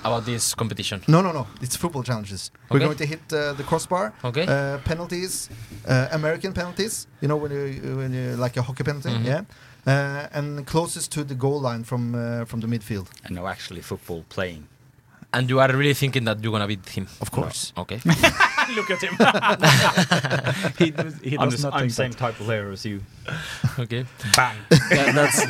S5: about this competition.
S1: No, no, no. It's football challenges. We're
S5: Okay.
S1: going to hit uh, the crossbar.
S5: Okay.
S1: Uh, penalties, uh, American penalties. You know when you when you like a hockey penalty,
S5: Mhm.
S1: yeah. Uh, and closest to the goal line from uh, from the midfield.
S3: No, actually football playing.
S5: And you are really thinking that you're gonna beat him?
S1: Of course. <laughs>
S5: Okay. <laughs>
S2: Look <laughs> at him. he, does- he
S6: I'm,
S2: does
S6: just,
S2: not
S6: I'm
S2: think
S6: same
S2: that.
S6: type of player as
S5: <laughs>
S6: you.
S5: okay.
S6: Bang.
S5: That, that's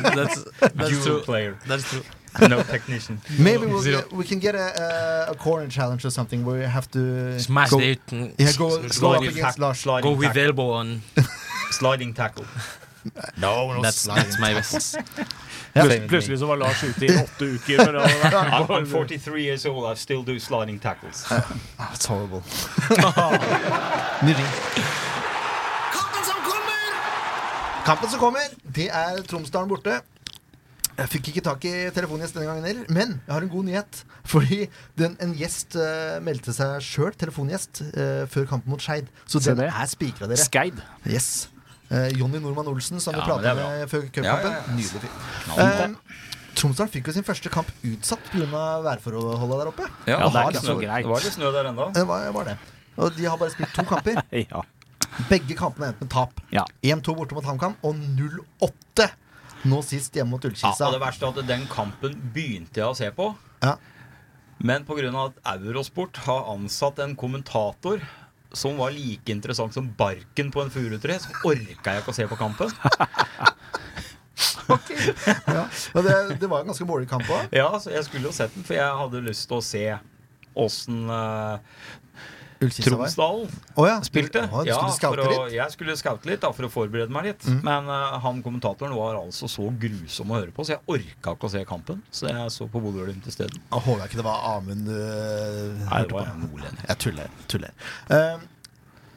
S5: that's that's
S6: Dual
S5: true. <laughs>
S6: player.
S5: That's true.
S6: No technician.
S1: Maybe we'll
S5: Zero.
S1: get, we can get a, a, a corner challenge or something where you have to
S5: Smash
S1: go,
S5: the mm,
S1: yeah, go,
S5: s-
S1: go
S5: go
S1: up
S5: with,
S1: against Lars.
S5: go
S6: Sliding,
S5: with
S6: tackle.
S5: elbow on.
S6: sliding tackle.
S1: No, no,
S5: That's
S1: sliding.
S5: that's my
S1: <laughs>
S5: best.
S2: Plus, plutselig så var Lars ute i åtte uker. For å
S6: I'm, I'm 43 years old. I still do sliding tackles.
S1: Ah, it's <laughs>
S5: <laughs>
S1: horrible. Kampen som kommer, det er Tromsdalen borte. Jeg fikk ikke tak i telefongjest denne gangen heller, men jeg har en god nyhet. Fordi den, en gjest eh, meldte seg sjøl, telefongjest, eh, før kampen mot Skeid. Så
S2: Se
S1: den
S2: det.
S1: er spikra, dere.
S2: Skeid.
S1: Yes. Eh, Jonny Normann Olsen, som vi
S3: Ja, men det
S1: prata
S3: er bra.
S1: med før cupkampen. Nydelig fyr.
S3: Ja,
S1: Eh, Tromsdalen fikk jo sin første kamp utsatt pga. værforholdene der oppe.
S2: Ja, det
S1: har
S2: er ikke så
S1: derfor-
S3: Det var litt
S2: greit.
S3: snø der ennå.
S1: Det var, var det. Og de har bare spilt to kamper.
S2: Ja.
S1: Begge kampene endte med tap.
S2: Ja.
S1: 1-2 borte mot HamKam og 0-8 nå sist hjemme mot
S3: Ja,
S1: Ullkisa.
S3: og det verste er at den kampen begynte jeg å se på.
S1: Ja.
S3: Men pga. at Eurosport har ansatt en kommentator som var like interessant som barken på en furutre, så orka jeg ikke å se på kampen.
S1: <laughs> ja. Og det, det var en ganske målig kamp òg.
S3: Ja, så Jeg skulle jo sett den, for jeg hadde lyst til å se eh, åssen
S1: Ullkisa var.
S3: Tromsdalen
S1: Å ja.
S3: spilte.
S1: Å, du
S3: Ja,
S1: skulle
S3: for
S1: skaute
S3: å,
S1: litt?
S3: jeg skulle skaute litt da, for å forberede meg litt. Men eh, han kommentatoren var altså så grusom å høre på, så jeg orka ikke å se kampen. Så jeg så på Bodø-Glimt isteden.
S1: Jeg håper jeg ikke det var Amund du
S3: Nei,
S1: hørte
S3: det
S1: på.
S3: var nordlending.
S1: Jeg tuller. tuller. Eh,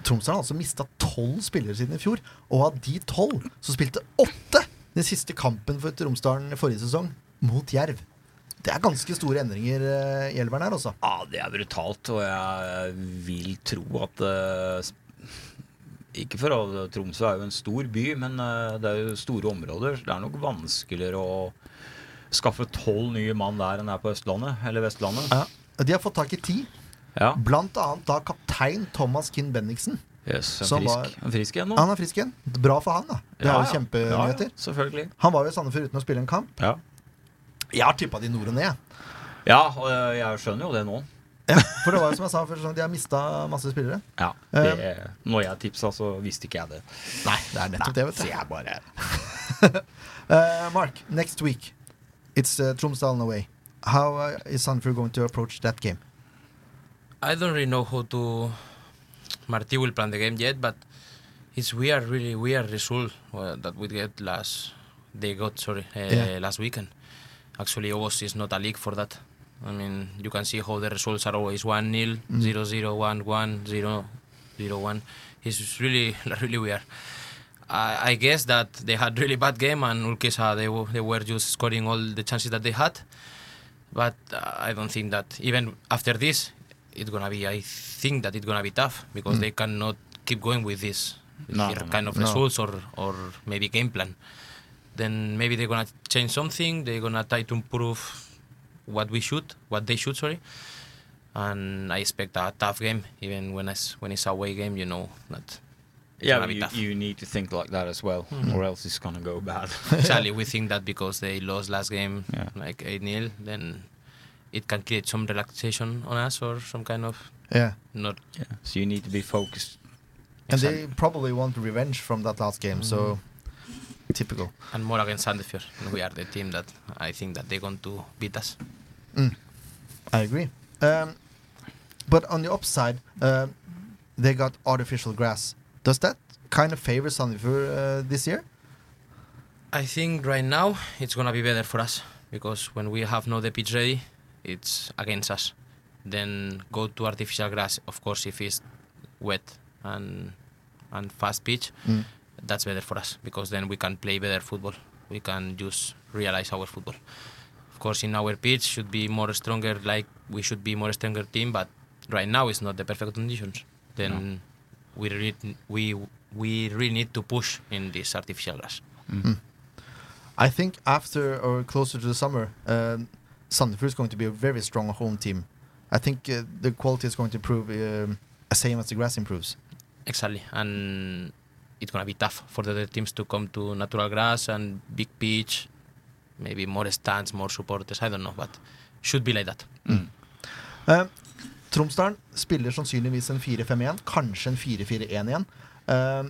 S1: Tromsø har altså mista tolv spillere siden i fjor, og av de tolv så spilte åtte den siste kampen for Tromsdalen forrige sesong, mot Jerv. Det er ganske store endringer eh, i elveren her, altså.
S3: Ja, det er brutalt, og jeg vil tro at eh, s- Ikke for at Tromsø er jo en stor by, men eh, det er jo store områder. så Det er nok vanskeligere å skaffe tolv nye mann der enn det er på Østlandet eller Vestlandet.
S1: Ja. De har fått tak i ti,
S3: Ja,
S1: blant annet da kaptein Thomas Kinn Bendiksen.
S3: yes, en
S1: Så var-
S3: frisk, en frisk igjen nå.
S1: Han er frisk igjen. Bra for han, da. Det
S3: Ja,
S1: er jo
S3: ja.
S1: kjempenyheter.
S3: Ja, selvfølgelig.
S1: Han var jo i Sandefjord uten å spille en kamp.
S3: Ja.
S1: Jeg har tippa de nord og ned.
S3: ja, og eh, jeg skjønner jo det nå.
S1: For det var jo som jeg sa før, sånn, de har mista masse spillere.
S3: Ja, det, Når jeg tipsa, så visste ikke jeg det.
S1: Nei, det er nettopp det, vet
S3: Så
S1: du.
S3: jeg bare
S1: Eh, Mark, next week it's uh, Tromsdalen away. How uh, is Sandefjord going to approach that game?
S5: I don't really know how to. Marty will plan the game yet, but it's weird, really weird result well, that we get last. They got sorry uh,
S1: Yeah.
S5: last weekend. Actually, always is not a league for that. I mean, you can see how the results are always one 0 zero zero one one zero zero one. It's really <laughs> really weird. I, I guess that they had really bad game and Ulkisa they were, they were just scoring all the chances that they had. but uh, I don't think that even after this, it's gonna be. I think that it's gonna be tough because they cannot keep going with this
S3: No,
S5: here
S3: no, no.
S5: kind of
S1: No.
S5: results or or maybe game plan. Then maybe they're gonna change something. They're gonna try to improve what we shoot, what they shoot. Sorry. And I expect a tough game, even when it's when it's away game. You know that it's
S3: Yeah,
S5: gonna
S3: but
S5: be
S3: you,
S5: tough.
S3: you need to think like that as well, or else it's gonna go bad.
S5: Exactly, we think that because they lost last game
S3: Yeah.
S5: like 8 0, then it can create some relaxation on us or some kind of
S1: Yeah.
S5: not.
S3: Yeah. So you need to be focused.
S1: And they probably want revenge from that last game, so typical.
S5: And more against Sandefjord. And we are the team that I think that they're going to beat us.
S1: I agree. Um, but on the upside, um, they got artificial grass. Does that kind of favor Sandefjord uh, this year?
S5: I think right now it's going to be better for us because when we have no the pitch ready, it's against us. Then go to artificial grass, of course, if it's wet and and fast pitch,
S1: Mm.
S5: that's better for us because then we can play better football. We can just realize our football. Of course, in our pitch should be more stronger. Like we should be more stronger team, but right now it's not the perfect conditions. Then we really, we we really need to push in this artificial grass.
S1: I think after or closer to the summer, uh, Sandefjord is going to be a very strong home team. I think uh, the quality is going to improve um the same as the grass improves.
S5: Exactly, and it's gonna be tough for the other teams to come to natural grass and big pitch, maybe more stands, more supporters. I don't know, but should be like that.
S3: Mm.
S1: Eh, Tromsdalen spiller sannsynligvis en 4-5-1, kanskje en 4-4-1 igjen. Eh,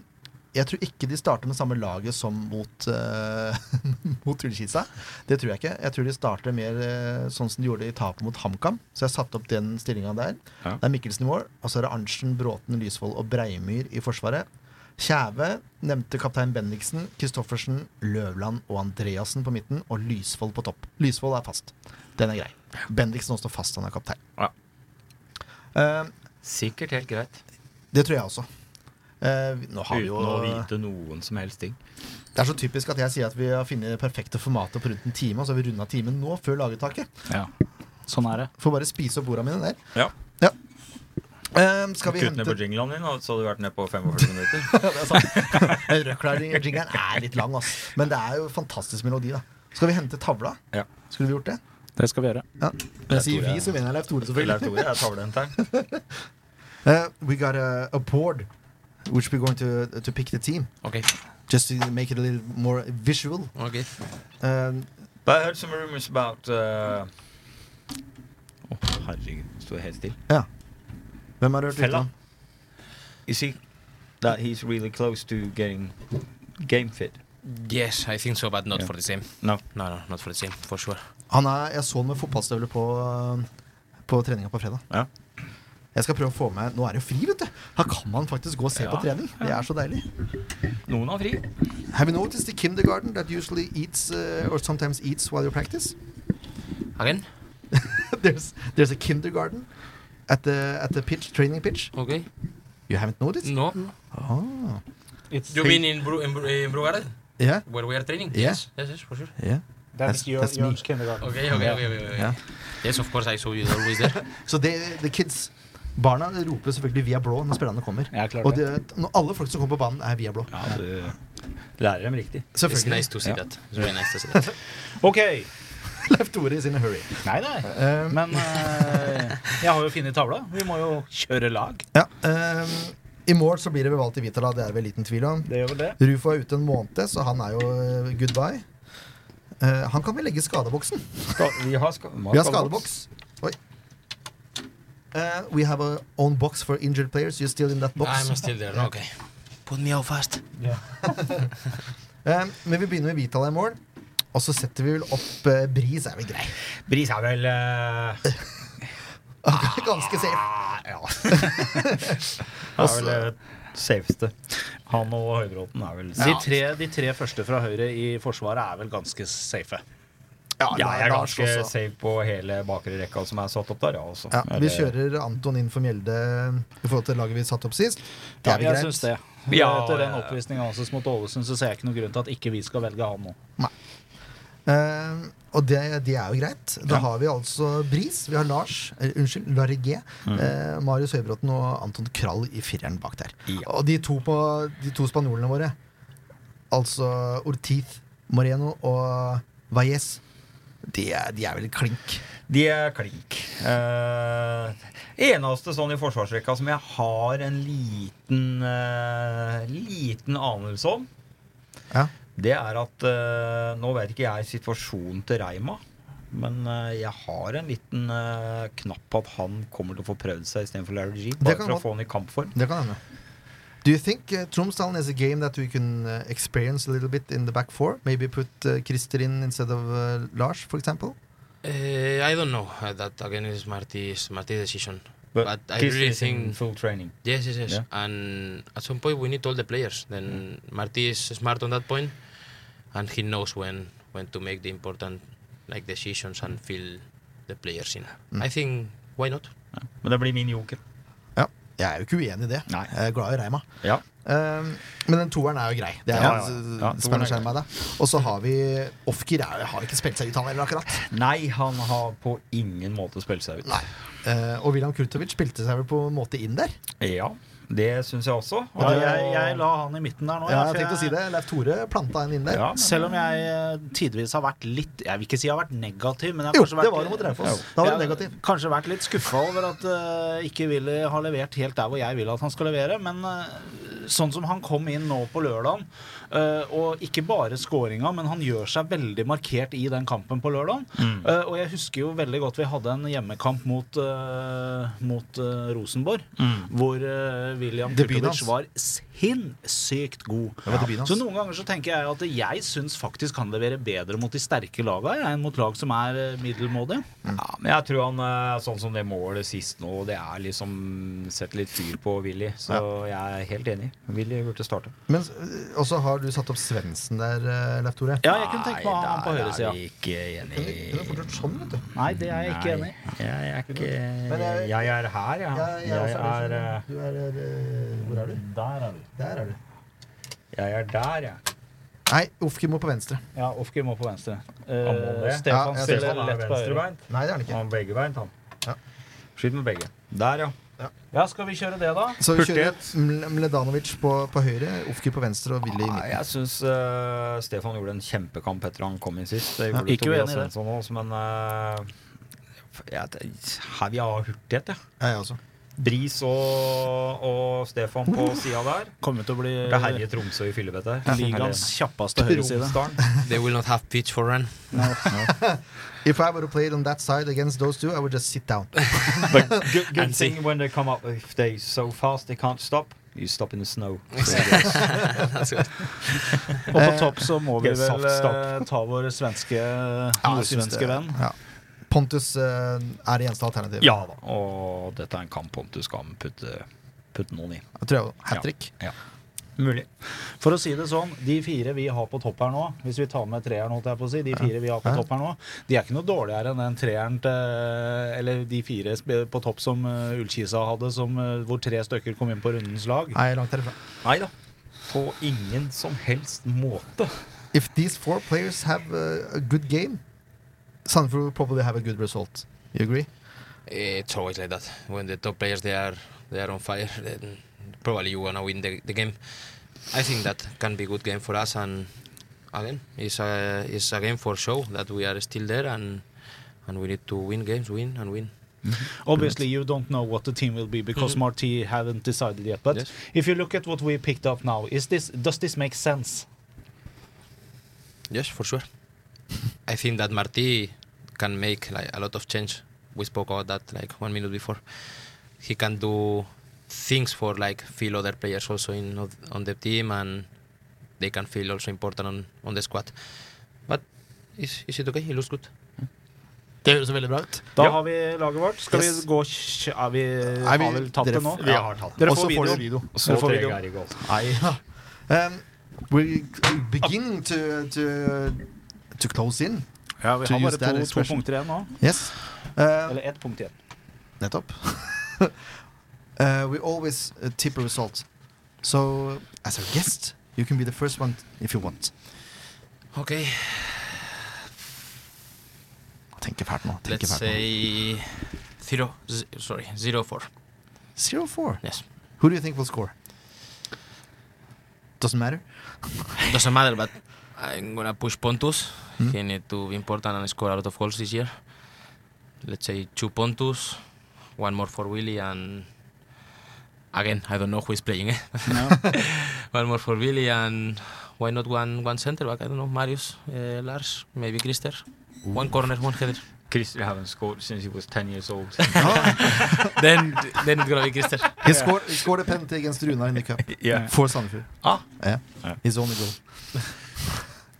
S1: jeg tror ikke de starter med samme laget som mot, eh, <laughs> mot Ullkisa. Det tror jeg ikke. Jeg tror de starter mer eh, sånn som de gjorde i tapet mot HamKam. Så jeg satte opp den stillinga der.
S6: Ja.
S1: Det er Mikkelsen i mål, og så er det Arntzen, Bråten, Lysvold og Breimyr i forsvaret. Kjæve nevnte kaptein Bendiksen, Kristoffersen, Løvland og Andreassen på midten, og Lysvold på topp. Lysvold er fast. Den er grei. Bendiksen også fast, han er kaptein.
S6: Ja.
S1: Eh,
S3: Sikkert helt greit.
S1: det tror jeg også. Eh, vi- nå har vi
S3: Uten
S1: jo
S3: å vite noen som helst ting.
S1: Det er så typisk at jeg sier at vi har funnet det perfekte formatet på rundt en time, og så har vi runda timen nå, før lagetaket.
S2: Ja. Sånn er det.
S1: Får bare spise opp ordene mine der.
S3: Ja.
S1: Ja. Eh, skal vi
S3: Kutt ned på
S1: hente
S3: jinglen din, og så hadde du vært ned på 45 <laughs> minutter.
S1: Ja, <laughs> det er sant. Den Røkla-jingeren er litt lang, ass. Men det er jo fantastisk melodi, da. Skal vi hente tavla?
S3: Ja.
S1: Skulle vi gjort det?
S2: Det skal vi gjøre.
S1: Ja. Når jeg sier
S3: Tore.
S1: vi, så mener jeg Leif Tore, selvfølgelig.
S3: Leif Tore er tavlehenteren.
S1: Eh, we got a, a board which we're going to, to pick the team.
S5: Okay,
S1: Just to make it a little more visual.
S5: okay.
S1: Um,
S3: But I heard some rumors about uh... Å, herregud. Sto helt stille.
S1: hvem har du hørt
S3: Fella.
S1: utenom?
S3: You see that he's really close to getting game fit.
S5: Yes, I think so, but not for the same.
S3: No.
S5: No, no, not for the same, for sure.
S1: Han er, jeg så han med fotballstøvler på, eh, på treninga på fredag.
S3: Ja.
S1: Jeg skal prøve å få med Nå er det jo fri, vet du! Her kan man faktisk gå og se
S3: Ja.
S1: på trening. Det er så deilig.
S3: Noen har fri.
S1: Have you noticed the kindergarten that usually eats uh, or sometimes eats while you practice?
S5: Again?
S1: <laughs> there's there's a kindergarten at the at the pitch training pitch.
S5: Okay.
S1: You haven't noticed?
S5: No.
S1: Oh,
S2: It's
S5: You mean in Bru in, Bru in Brugard,
S1: yeah,
S5: where we are training?
S1: Yeah.
S5: Yes, yes, yes, for sure.
S1: yeah.
S4: That's,
S1: That's-
S4: your,
S1: that's
S4: your
S1: me.
S4: kindergarten.
S5: Okay, okay, okay, okay, okay.
S1: Yeah.
S5: Yes, of course, I saw you always
S1: <laughs>
S5: there.
S1: So they, the kids Barna roper selvfølgelig 'Via blå' når spillerne kommer.
S2: Ja, klart
S1: Og
S2: det.
S1: det, når alle folk som kommer på banen, er 'Via blå'.
S3: Ja, du lærer dem riktig.
S5: it's
S1: Selvfølgelig.
S5: nice to see that. It's really nice to see that.
S2: OK. <laughs>
S1: Leif Tore is in a hurry.
S2: Nei, nei.
S1: Ehm,
S2: Men eh, <laughs> jeg har jo funnet tavla. Vi må jo kjøre lag.
S1: Ja, ehm, I mål så blir det vel valgt i Vitala, det er det vel liten tvil om.
S2: Det gjør vel det.
S1: Rufo er ute en måned, så han er jo eh, goodbye. Eh, han kan vel legge i skadeboksen.
S3: vi har, ska
S1: Vi har skadeboks. Oi. Eh, we have a own box for injured players. You're still in that box.
S5: <laughs> I'm still there, okay. Put me out fast.
S1: Eh, men vi begynner med Vitala i mål. Og så setter vi vel opp eh, Bris, er vel grei. <laughs>
S3: Bris er vel eh,
S1: Ganske safe.
S3: ah, <laughs> Ja. Altså- er vel eh, det safeste. Han og Høybråten er vel
S2: De tre, de tre første fra høyre i Forsvaret er vel ganske safe.
S3: Ja, jeg er
S1: Lars
S3: ganske
S1: også.
S3: safe på hele bakre rekka som er satt opp der, ja. Også.
S1: altså- Ja,
S3: Er
S1: vi
S3: det-
S1: kjører Anton inn for Mjelde i forhold til laget vi satte opp sist. Det er vel
S2: jeg
S1: greit.
S2: syns det.
S3: Ja,
S2: Etter den
S3: ja, ja.
S2: oppvisninga hans mot Ålesund så ser jeg ikke noen grunn til at ikke vi skal velge han nå.
S1: Eh, og det, det er jo greit. Da har vi altså Bris, vi har Lars, eh, unnskyld, Larigé, eh, Marius Høybråten og Anton Krall i fireren bak der.
S3: Ja.
S1: Og de to, på, de to spanjolene våre, altså Ortiz Moreno og Valles, de er, de er vel klink.
S3: De er klink. Eh, eneste sånn i forsvarsrekka som jeg har en liten eh, liten anelse om,
S1: Ja.
S3: det er at eh, Nå vet ikke jeg situasjonen til Reima, men eh, jeg har en liten eh, knapp på at han kommer til å få prøvd seg istedenfor Larry G. Bare
S1: kan
S3: for å
S1: godt-
S3: få han i kampform.
S1: Det kan hende. Do you think uh, Tromsdalen is a game that we can uh, experience a little bit in the back four? Maybe put uh, Christer in instead of uh, Lars, for example?
S5: Uh, I don't know. Uh, that again is Marty's Marty's decision. But, I
S3: Kiss
S5: really
S3: is in
S5: think
S3: full training.
S5: yes, yes, yes.
S3: Yeah.
S5: And at some point we need all the players. Then Marty is smart on that point, and he knows when when to make the important like decisions and fill the players in. I think why not?
S3: Men det blir min joker.
S1: Ja. Jeg er jo ikke uenig i det.
S3: Nei.
S1: Jeg er glad i Reima.
S3: Ja.
S1: Eh, men den toeren er jo grei. Det er
S3: Ja,
S1: jo, eh,
S3: ja, ja.
S1: Spanish Armada. Og så har vi Ofkir. er jo- Har ikke spilt seg ut, han heller, akkurat.
S3: Nei, han har på ingen måte spilt seg ut.
S1: Nei. Eh, og William Kurtovic spilte seg vel på en måte inn der.
S3: Ja, det syns jeg også.
S2: Ja, jeg, jeg la han i midten der nå.
S1: Ja,
S2: for
S1: jeg tenkte å si det. Leif Tore planta en inn der.
S3: Ja, men-
S2: Selv om jeg eh, tidvis har vært litt Jeg vil ikke si jeg har vært negativ, men jeg har
S1: Jo,
S2: kanskje vært
S1: det var det mot Raufoss. Da var det
S2: Jeg har
S1: negativ.
S2: Kanskje vært litt skuffa over at eh, ikke Willy har levert helt der hvor jeg vil at han skal levere. Men eh, sånn som han kom inn nå på lørdagen, eh, og ikke bare skåringa, men han gjør seg veldig markert i den kampen på lørdagen.
S3: Mm.
S2: Eh, og jeg husker jo veldig godt vi hadde en hjemmekamp mot, eh, mot eh, Rosenborg,
S3: Mm.
S2: hvor eh, William
S1: Debuten
S2: Kurtovic
S1: hans.
S2: var sinnssykt god.
S1: Det var debuten hans.
S2: Så noen ganger så tenker jeg at jeg syns faktisk han leverer bedre mot de sterke laga jeg, enn mot lag som er eh, middelmådige.
S1: Mm.
S3: Ja, men jeg tror han eh, sånn som det målet sist nå, det er liksom sett litt fyr på Willy. Så jeg er helt enig. Willy burde starte.
S1: Men eh, også har du satt opp Svendsen der, eh, Leif Tore.
S2: Ja, jeg kunne tenke meg å ha han på
S3: Nei,
S2: høyresida.
S3: Der er vi ikke
S1: Kunne kunne fort
S3: enig.
S1: gjort sånn, vet du.
S2: Nei, det er jeg ikke enig i.
S3: Nei, Jeg er ikke
S1: Men jeg-
S3: Eh, Jeg er her, ja.
S1: Ja, jeg,
S3: Jeg
S1: også er,
S3: er,
S1: det,
S3: eh,
S1: skjønner du. du er, eh, Hvor er du?
S2: Der er vi.
S1: Der er du.
S3: jeg er der, jeg.
S1: Nei, Ofkir må på venstre.
S2: Ja, Ofke må på venstre. Eh,
S3: Han må det.
S1: Ja,
S2: Stefan
S1: jeg
S2: spiller
S3: Stefan er
S2: lett på høyre.
S3: venstrebeint.
S1: Nei, det er han ikke.
S3: Han er beggebeint, han.
S1: Ja.
S3: Skyt med begge. Der, ja.
S2: Ja, skal vi kjøre det, da?
S1: Så vi kjører Ml- Mladenovic på, på høyre, Ofkir på venstre og Willy i
S3: Nei,
S1: midten.
S3: jeg syns Stefan gjorde en kjempekamp etter han kom inn sist. Det gjorde
S2: Ja, ikke
S3: Tobias
S2: uenig i det.
S3: Svensson også, men eh, jeg, her vil jeg ha hurtighet, jeg.
S1: Jeg også.
S3: Bris og, og Stefan på sida der. Eh,
S2: Kommer til å bli
S3: Det herjer Tromsø i fillebete.
S2: ligaens kjappeste høyreside.
S3: Romsdalen.
S5: They will not have pitch for run.
S1: If I were to play it on that side against those two, I would just sit down.
S3: <laughs> Good, good
S5: And see.
S3: thing when they come up, if they so fast they can't stop, you stop in the snow.
S2: Og på topp så må vi
S3: Get
S2: vel
S3: soft stop.
S2: eh, ta vår svenske
S1: jeg synes
S2: nordsvenske
S1: det-
S2: venn.
S1: Ja. Pontus eh, er det eneste alternativet.
S3: Ja da. Og dette er en kamp Pontus kan putte, putte noen i.
S1: Jeg tror jeg Hat trick.
S3: Mulig.
S2: For å si det sånn, de fire vi har på topp her nå, hvis vi tar med treeren, holdt jeg på å si, de fire vi har på
S1: Ja.
S2: topp her nå, de er ikke noe dårligere enn den treeren til Eller de fire sp- på topp som eh, Ullkisa hadde, som, eh, hvor tre stykker kom inn på rundens lag.
S1: Nei, langt herifra.
S3: Nei da. På ingen som helst måte.
S1: If these four players have eh, a good game, Sandefjord will probably have a good result. You agree?
S5: It's always Eh, like that. When the top players they are they are on fire, then probably you wanna win the, the game. I think that can be good game for us, and again, it's a it's a game for show that we are still there, and and we need to win games, win and win.
S2: Obviously, you don't know what the team will be because Marti haven't decided yet. But
S5: Yes.
S2: if you look at what we picked up now, is this does this make sense?
S5: Yes, for sure. I think that Martí can make like a lot of change. We spoke about that like one minute before. He can do things for like feel other players also in oth- on the team, and they can feel also important on, on the squad. But is is it okay? He looks good.
S1: Det høres veldig bra ut.
S2: Da
S3: Ja.
S2: har vi laget vårt. Skal
S1: Yes.
S2: vi gå kj- Er vi,
S1: Er vi-
S2: har vel tatt
S1: dere-
S2: det nå?
S1: Vi har tatt
S2: Dere
S1: Og så
S2: får
S1: får dere
S2: videoen.
S1: video.
S3: Så
S2: får vi
S3: trege
S2: gå.
S3: er ikke alt.
S1: Nei, ja. Um, we're beginning to, to, to close in.
S2: Ja, vi
S1: To
S2: har
S1: use
S2: bare
S1: that
S2: to, to
S1: expression.
S2: punkter igjen nå.
S1: Yes. Uh,
S2: Eller ett punkt igjen.
S1: nettopp. <laughs> uh, we always uh, tip a result. So, as our guest, you can be the first one if you want.
S5: Okay,
S1: Tenker fælt nå. Tenker
S5: let's
S1: fælt nå.
S5: say zero. z- sorry, zero four.
S1: 0-4.
S5: Yes,
S1: Who do you think will score? Doesn't
S5: <laughs>
S1: matter.
S5: doesn't matter. But I'm gonna push Pontus. He need to be important and score a lot of goals this year. Let's say two Pontus, one more for Willy, and again I don't know who is playing. Eh? <laughs> one more for Willy, and why not one one centre back? I don't know Marius, uh, Lars, maybe Krister. One corner, one header.
S3: Christer haven't scored since he was 10 years old.
S5: <laughs> then then it's gonna be Krister.
S1: He, scored, he scored a penalty against Runar in the cup
S3: Yeah.
S1: for Sandefjord.
S5: Ah.
S1: Yeah. His only <laughs> goal.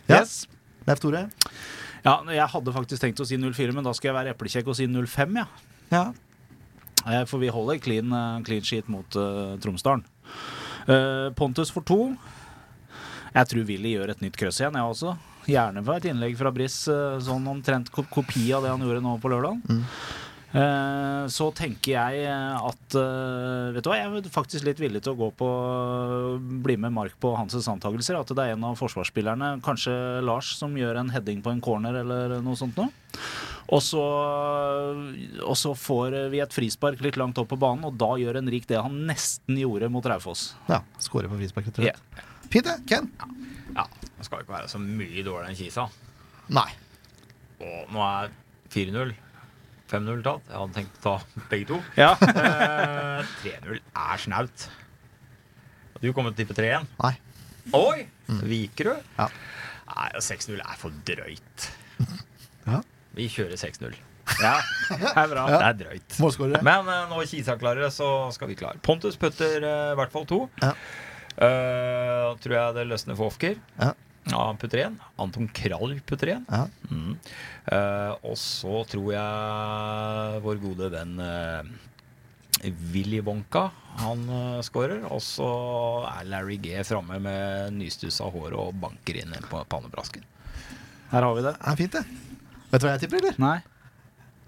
S2: Yes.
S1: Leif Tore?
S2: Ja, jeg hadde faktisk tenkt å si 04, men da skal jeg være eplekjekk og si 05, ja.
S1: Ja.
S2: Eh, For vi holder clean, eh, clean sheet mot eh, Tromsdalen. Eh, Pontus for to. Jeg tror Willy gjør et nytt krøss igjen, jeg også. Gjerne for et innlegg fra Briss, eh, sånn omtrent ko- kopi av det han gjorde nå på lørdag. Eh, Så tenker jeg at eh, Vet du hva, jeg er faktisk litt villig til å gå på eh, bli med Mark på Hansens antakelser. At det er en av forsvarsspillerne, kanskje Lars, som gjør en heading på en corner eller noe sånt noe. Og så, og så får vi et frispark litt langt opp på banen, og da gjør Henrik det han nesten gjorde mot Raufoss.
S1: Ja, Skåre på frispark, rett og slett. Fint, det. Ken?
S3: Ja, det skal ikke være så mye dårligere enn Kisa.
S1: Nei.
S3: Og nå er 4-0. 5-0 tatt. Jeg hadde tenkt å ta begge to.
S2: Ja. <laughs>
S3: Eh, 3-0 er snaut. Du kommer til å tippe 3-1.
S1: Nei.
S3: Oi! Vikerød?
S1: Mm. Ja.
S3: Nei, og 6-0 er for drøyt.
S1: <laughs> Ja.
S3: Vi kjører 6-0.
S2: Ja, det er bra.
S3: <laughs> Det er drøyt.
S1: Målskårere?
S3: Men eh, når Kisa klarer det, så skal vi klare. Pontus putter eh, i hvert fall to.
S1: Ja.
S3: Eh, tror jeg det løsner for Ofker.
S1: Ja.
S3: han putter én. Anton Krall putter én.
S1: Ja.
S3: Mm. Eh, og så tror jeg vår gode venn eh, Willy Wonka han uh, scorer. Og så er Larry G framme med nystussa hår og banker inn på pannebrasken.
S2: Her har vi det.
S1: Ja, fint, det. Vet du hva jeg tipper, eller?
S2: Nei.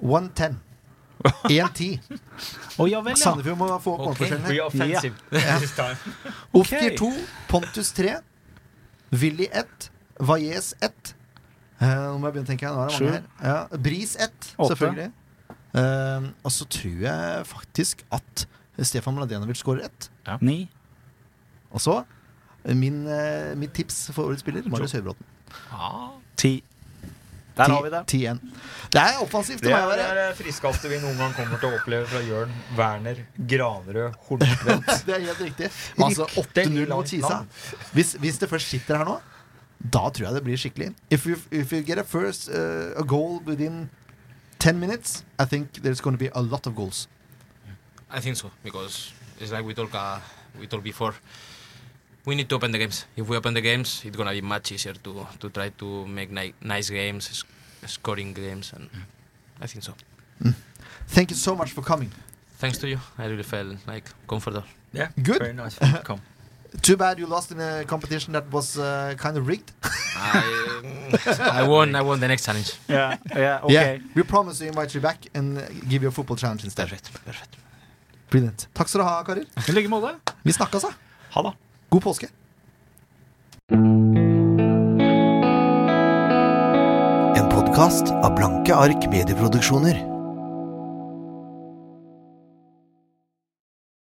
S2: <laughs>
S1: 1-10. 1-10.
S2: Å ja vel, ja.
S1: Sandefjord må få opp
S5: Ok.
S1: målforskjellene.
S3: Be
S2: offensive
S3: <laughs>
S1: Ofkir 2, Pontus 3, Willy 1, Valles 1. Eh, nå må jeg begynne å tenke. Nå er det mange
S2: Sju.
S1: her. Ja, Bris 1,
S2: Åtte.
S1: selvfølgelig. Eh, og så tror jeg faktisk at Stefan Mladenovic skårer 1.
S2: Ni.
S1: Og så min, eh, mitt tips for årets spiller, Marius Høybråten.
S2: Ti. Der har vi det.
S1: 10-1. Det er offensivt, det
S3: Det
S1: må
S3: er
S1: jeg være.
S3: det friskeste vi noen gang kommer til å oppleve fra Jørn Werner Granrød
S1: <laughs>
S3: Hornstvedt.
S1: Det er helt riktig. Altså 8-0 mot Kisa. Hvis, hvis det først sitter her nå, da tror jeg det blir skikkelig. If you, if you get a first uh, a goal within 10 minutes, I think there's going to be a lot of goals.
S5: I think so because it's like we talk uh, we talked before. We need to open the games. If we open the games, it's gonna be much easier to to try to make ni- nice games, sc- scoring games, and I think so.
S1: Thank you so much for coming.
S5: Thanks to you, I really felt like comfortable.
S1: Good.
S3: Very nice. Welcome.
S1: Too bad you lost in a competition that was uh, kind of rigged.
S5: <laughs> I I won. I won the next challenge.
S2: Ja, ja, ok.
S1: We promise to invite you back and uh, give you a football challenge instead.
S5: Perfect. Perfect.
S1: Brilliant. Takk skal du ha, karer.
S2: I like måte.
S1: Vi snakkes, da.
S3: Ha det.
S1: God påske. En podkast av Blanke ark medieproduksjoner.